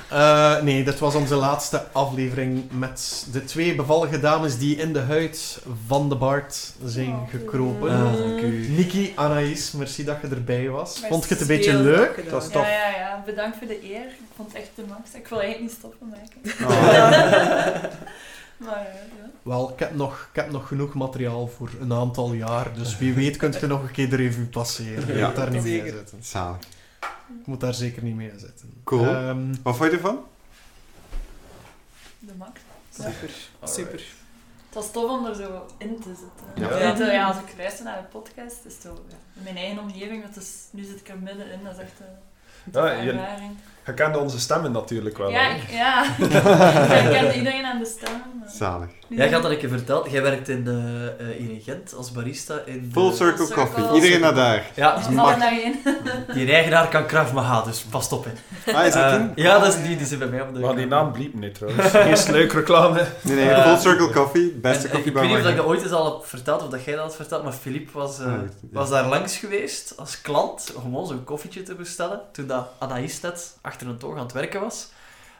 [SPEAKER 4] Eh, nee, dit was onze laatste aflevering met de twee bevallige dames die in de huid van de Bart zijn
[SPEAKER 9] Oh.
[SPEAKER 4] gekropen.
[SPEAKER 7] Ah, dank u.
[SPEAKER 4] Niki, Anaïs, merci dat je erbij was.
[SPEAKER 9] Merci.
[SPEAKER 4] Vond je het een beetje leuk?
[SPEAKER 10] Dat
[SPEAKER 2] was
[SPEAKER 9] Ja, ja, ja. Bedankt voor de eer. Ik vond het echt de max. Ik wil eigenlijk niet stoppen maken.
[SPEAKER 2] Oh.
[SPEAKER 9] maar eh, ja.
[SPEAKER 4] Wel, ik heb, nog, ik heb nog genoeg materiaal voor een aantal jaar. Dus wie weet kunt je nog een keer de revue passeren. Je
[SPEAKER 2] Ja,
[SPEAKER 4] moet daar niet
[SPEAKER 10] zeker.
[SPEAKER 4] mee zitten.
[SPEAKER 2] Zalig.
[SPEAKER 4] Ik moet daar zeker niet mee zitten.
[SPEAKER 2] Cool.
[SPEAKER 4] Ehm,
[SPEAKER 2] Wat vond je ervan?
[SPEAKER 9] de max.
[SPEAKER 10] Super, super.
[SPEAKER 9] Het was tof om er zo in te zitten. Ja.
[SPEAKER 2] Ja.
[SPEAKER 6] Ja.
[SPEAKER 9] het, eh, ja, als ik luister naar de podcast, is het zo ja, in mijn eigen omgeving. Dat is, nu zit ik er middenin. Dat is echt eh, een toffe
[SPEAKER 6] Ja, jullie-
[SPEAKER 9] ervaring.
[SPEAKER 6] Je kende onze stemmen natuurlijk wel.
[SPEAKER 9] Ja,
[SPEAKER 6] hè?
[SPEAKER 9] ik, ja. ik ken iedereen aan de stem. maar-
[SPEAKER 2] Zalig.
[SPEAKER 7] Jij gaat dat ik je verteld. Jij werkt in, de, eh, hier in Gent als barista in de-
[SPEAKER 2] Full circle
[SPEAKER 9] circle.
[SPEAKER 2] coffee. Iedereen naar daar.
[SPEAKER 7] Ja,
[SPEAKER 9] Allemaal
[SPEAKER 7] mag.
[SPEAKER 9] daarin.
[SPEAKER 7] Die eigenaar kan Krav Maga, dus pas op. Hè.
[SPEAKER 2] Ah, is dat
[SPEAKER 7] Eh,
[SPEAKER 2] in?
[SPEAKER 7] ja, dat is die, die zit bij mij op de...
[SPEAKER 6] We gaan die naam bliep niet trouwens. Eerst leuk reclame.
[SPEAKER 2] Nee, nee,
[SPEAKER 7] Eh,
[SPEAKER 2] Full circle coffee. Beste
[SPEAKER 7] En, eh,
[SPEAKER 2] koffie
[SPEAKER 7] ik weet niet of dat ik dat ooit eens al heb verteld, of dat jij dat had verteld, maar Philippe was, eh,
[SPEAKER 2] Ah, ja.
[SPEAKER 7] was daar langs geweest als klant om ons een koffietje te bestellen, toen dat Anaïs net achter een toog aan het werken was.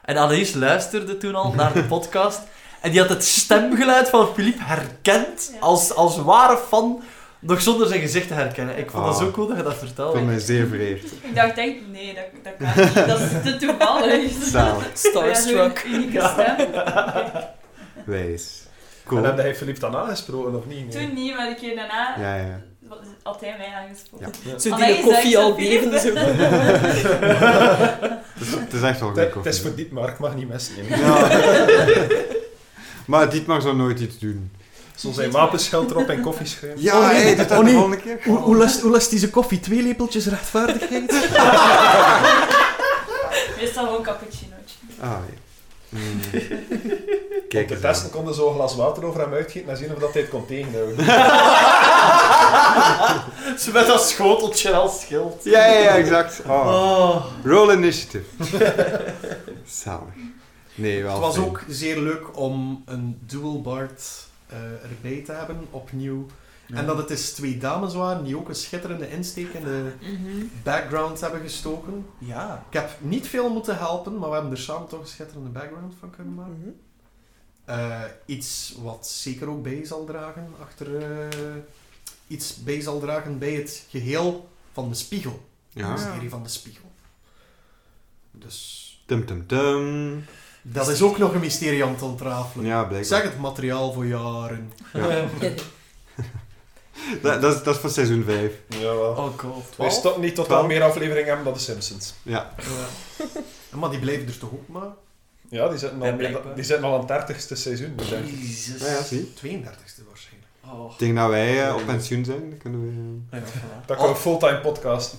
[SPEAKER 7] En Anaïs luisterde toen al naar de podcast en die had het stemgeluid van Philippe herkend
[SPEAKER 9] Ja.
[SPEAKER 7] als, als ware fan, nog zonder zijn gezicht te herkennen. Ik vond dat
[SPEAKER 2] Ah.
[SPEAKER 7] zo cool dat je dat vertelde.
[SPEAKER 2] Ik ben zeer vereerd.
[SPEAKER 9] Ik dacht echt, nee, dat, dat kan niet. Dat is te toevallig.
[SPEAKER 2] Zalig.
[SPEAKER 10] Starstruck.
[SPEAKER 9] Ja, zo'n unieke stem.
[SPEAKER 2] Wees.
[SPEAKER 6] En
[SPEAKER 2] Cool.
[SPEAKER 6] heb jij Philippe dan aangesproken of niet?
[SPEAKER 9] Toen niet, maar de keer daarna
[SPEAKER 2] Ja, ja.
[SPEAKER 9] was- had hij mij aangesproken.
[SPEAKER 10] Zo
[SPEAKER 9] Allee,
[SPEAKER 10] die
[SPEAKER 9] is
[SPEAKER 10] koffie
[SPEAKER 9] dat
[SPEAKER 10] al
[SPEAKER 9] echt zo
[SPEAKER 10] beven. Zo.
[SPEAKER 2] Het is, het is echt wel een goede
[SPEAKER 6] Het het
[SPEAKER 2] koffie.
[SPEAKER 6] is voor dit, maar ik mag niet messen.
[SPEAKER 2] Ja. maar Dietmar zou nooit iets doen.
[SPEAKER 6] Zo zijn wapenschild erop en koffieschrijven.
[SPEAKER 2] Ja,
[SPEAKER 4] Oh, nee.
[SPEAKER 2] hey, doe dat
[SPEAKER 4] Oh,
[SPEAKER 2] de
[SPEAKER 4] nee.
[SPEAKER 2] volgende keer.
[SPEAKER 4] Hoe, hoe, lust, hoe lust deze koffie? Twee lepeltjes rechtvaardigheid?
[SPEAKER 9] Meestal gewoon cappuccinootje.
[SPEAKER 2] Ah, ja. Mm.
[SPEAKER 6] Om
[SPEAKER 2] Kijk eens
[SPEAKER 6] te
[SPEAKER 2] aan.
[SPEAKER 6] testen konden zo een glas water over hem uitgieten en zien of dat hij het kon tegenhouden.
[SPEAKER 7] Ze met dat schoteltje als schild.
[SPEAKER 2] Ja, ja, ja, exact. Oh.
[SPEAKER 7] Oh.
[SPEAKER 2] Roll initiative. Zalig. Nee, wel
[SPEAKER 4] Het was
[SPEAKER 2] fijn.
[SPEAKER 4] ook zeer leuk om een dual bard eh, erbij te hebben, opnieuw. En dat het dus twee dames waren die ook een schitterende insteek in de background hebben gestoken.
[SPEAKER 7] Ja.
[SPEAKER 4] Ik heb niet veel moeten helpen, maar we hebben er samen toch een schitterende background van kunnen maken.
[SPEAKER 10] Mhm.
[SPEAKER 4] Eh, iets wat zeker ook bij zal dragen achter... eh, iets bij zal dragen bij het geheel van de spiegel.
[SPEAKER 2] Ja.
[SPEAKER 4] De serie van de spiegel. Dus...
[SPEAKER 2] Tum tum tum.
[SPEAKER 4] Dat is ook nog een mysterie aan het ontrafelen.
[SPEAKER 2] Ja, blijkbaar.
[SPEAKER 4] Zeg het materiaal voor jaren.
[SPEAKER 2] Ja. dat, dat, is, dat is voor seizoen 5.
[SPEAKER 6] Jawel.
[SPEAKER 7] Oh god.
[SPEAKER 6] We stoppen niet tot we
[SPEAKER 2] Twaalf?
[SPEAKER 6] meer afleveringen hebben dan de Simpsons.
[SPEAKER 2] Ja.
[SPEAKER 4] Maar die blijven er toch ook maar
[SPEAKER 6] Ja, die zitten al,
[SPEAKER 7] Ja,
[SPEAKER 6] meer dan-
[SPEAKER 7] blijkbaar.
[SPEAKER 6] die zitten al aan het dertigste seizoen. dus denk ik.
[SPEAKER 7] Jezus.
[SPEAKER 2] Ja, ja, zie.
[SPEAKER 4] 32e waarschijnlijk.
[SPEAKER 7] Oh.
[SPEAKER 2] Tegen dat wij eh, op pensioen zijn, dan kunnen we...
[SPEAKER 7] Ja, voilà.
[SPEAKER 6] Dat kan een fulltime podcast.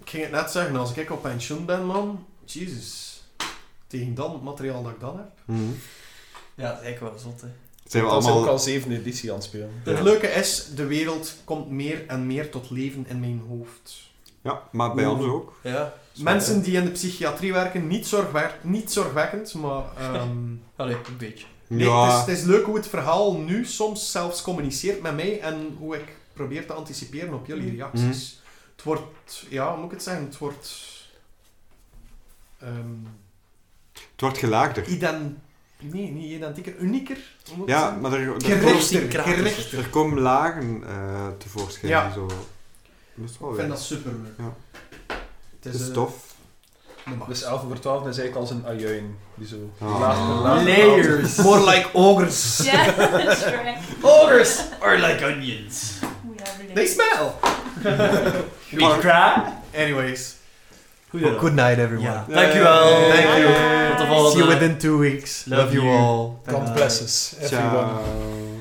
[SPEAKER 4] Ik ging het net zeggen, als ik op pensioen ben, man, jezus. Tegen dan het materiaal dat ik dan heb.
[SPEAKER 2] Mhm.
[SPEAKER 7] Ja, dat is eigenlijk wel zot, hè.
[SPEAKER 2] Zijn we
[SPEAKER 6] Dan zijn we ook
[SPEAKER 2] allemaal...
[SPEAKER 6] al zevende editie aan het spelen.
[SPEAKER 4] Het
[SPEAKER 2] Ja.
[SPEAKER 4] leuke is, de wereld komt meer en meer tot leven in mijn hoofd.
[SPEAKER 2] Ja, maar
[SPEAKER 4] Mhm.
[SPEAKER 2] bij ons ook.
[SPEAKER 7] Ja.
[SPEAKER 4] Mensen die in de psychiatrie werken, niet, zorgwer- niet zorgwekkend, maar... ehm,
[SPEAKER 7] Allee, een beetje.
[SPEAKER 4] nee, het, is,
[SPEAKER 2] Ja,
[SPEAKER 4] het is leuk hoe het verhaal nu soms zelfs communiceert met mij en hoe ik probeer te anticiperen op
[SPEAKER 2] Mhm.
[SPEAKER 4] jullie reacties. Het wordt... Ja, hoe moet ik het zeggen? Het wordt... ehm,
[SPEAKER 2] het wordt gelaagder.
[SPEAKER 4] ident... Nee, niet identieker. Unieker. hoe moet ik
[SPEAKER 2] Ja,
[SPEAKER 4] zeggen?
[SPEAKER 2] maar er, er, komen,
[SPEAKER 4] Gerichter.
[SPEAKER 7] kraters.
[SPEAKER 4] Gerichter.
[SPEAKER 2] er komen lagen eh, tevoorschijn.
[SPEAKER 4] Ja.
[SPEAKER 2] die Zo. Dat is wel
[SPEAKER 4] Ik vind
[SPEAKER 2] weer.
[SPEAKER 4] dat super leuk.
[SPEAKER 2] oh, Ja.
[SPEAKER 4] Het
[SPEAKER 2] Dat is
[SPEAKER 4] eh,
[SPEAKER 2] tof.
[SPEAKER 4] de macht.
[SPEAKER 6] Dus 11 voor 12 is eigenlijk als een ajuin. Die zo
[SPEAKER 2] Ah.
[SPEAKER 6] laag- laag-
[SPEAKER 7] Layers.
[SPEAKER 4] More like ogres.
[SPEAKER 9] Ja, sure.
[SPEAKER 7] Ogres are like onions.
[SPEAKER 9] Oeh, ja, bedankt.
[SPEAKER 4] They smell.
[SPEAKER 7] We cry.
[SPEAKER 4] Anyways.
[SPEAKER 7] Goeie.
[SPEAKER 4] good night
[SPEAKER 7] Ja. Dankjewel.
[SPEAKER 4] Thank you.
[SPEAKER 7] Tot de volgende.
[SPEAKER 4] See you within two weeks.
[SPEAKER 7] Love
[SPEAKER 4] Love you
[SPEAKER 7] you.
[SPEAKER 4] all.
[SPEAKER 6] God bless us, everyone.
[SPEAKER 2] Ciao.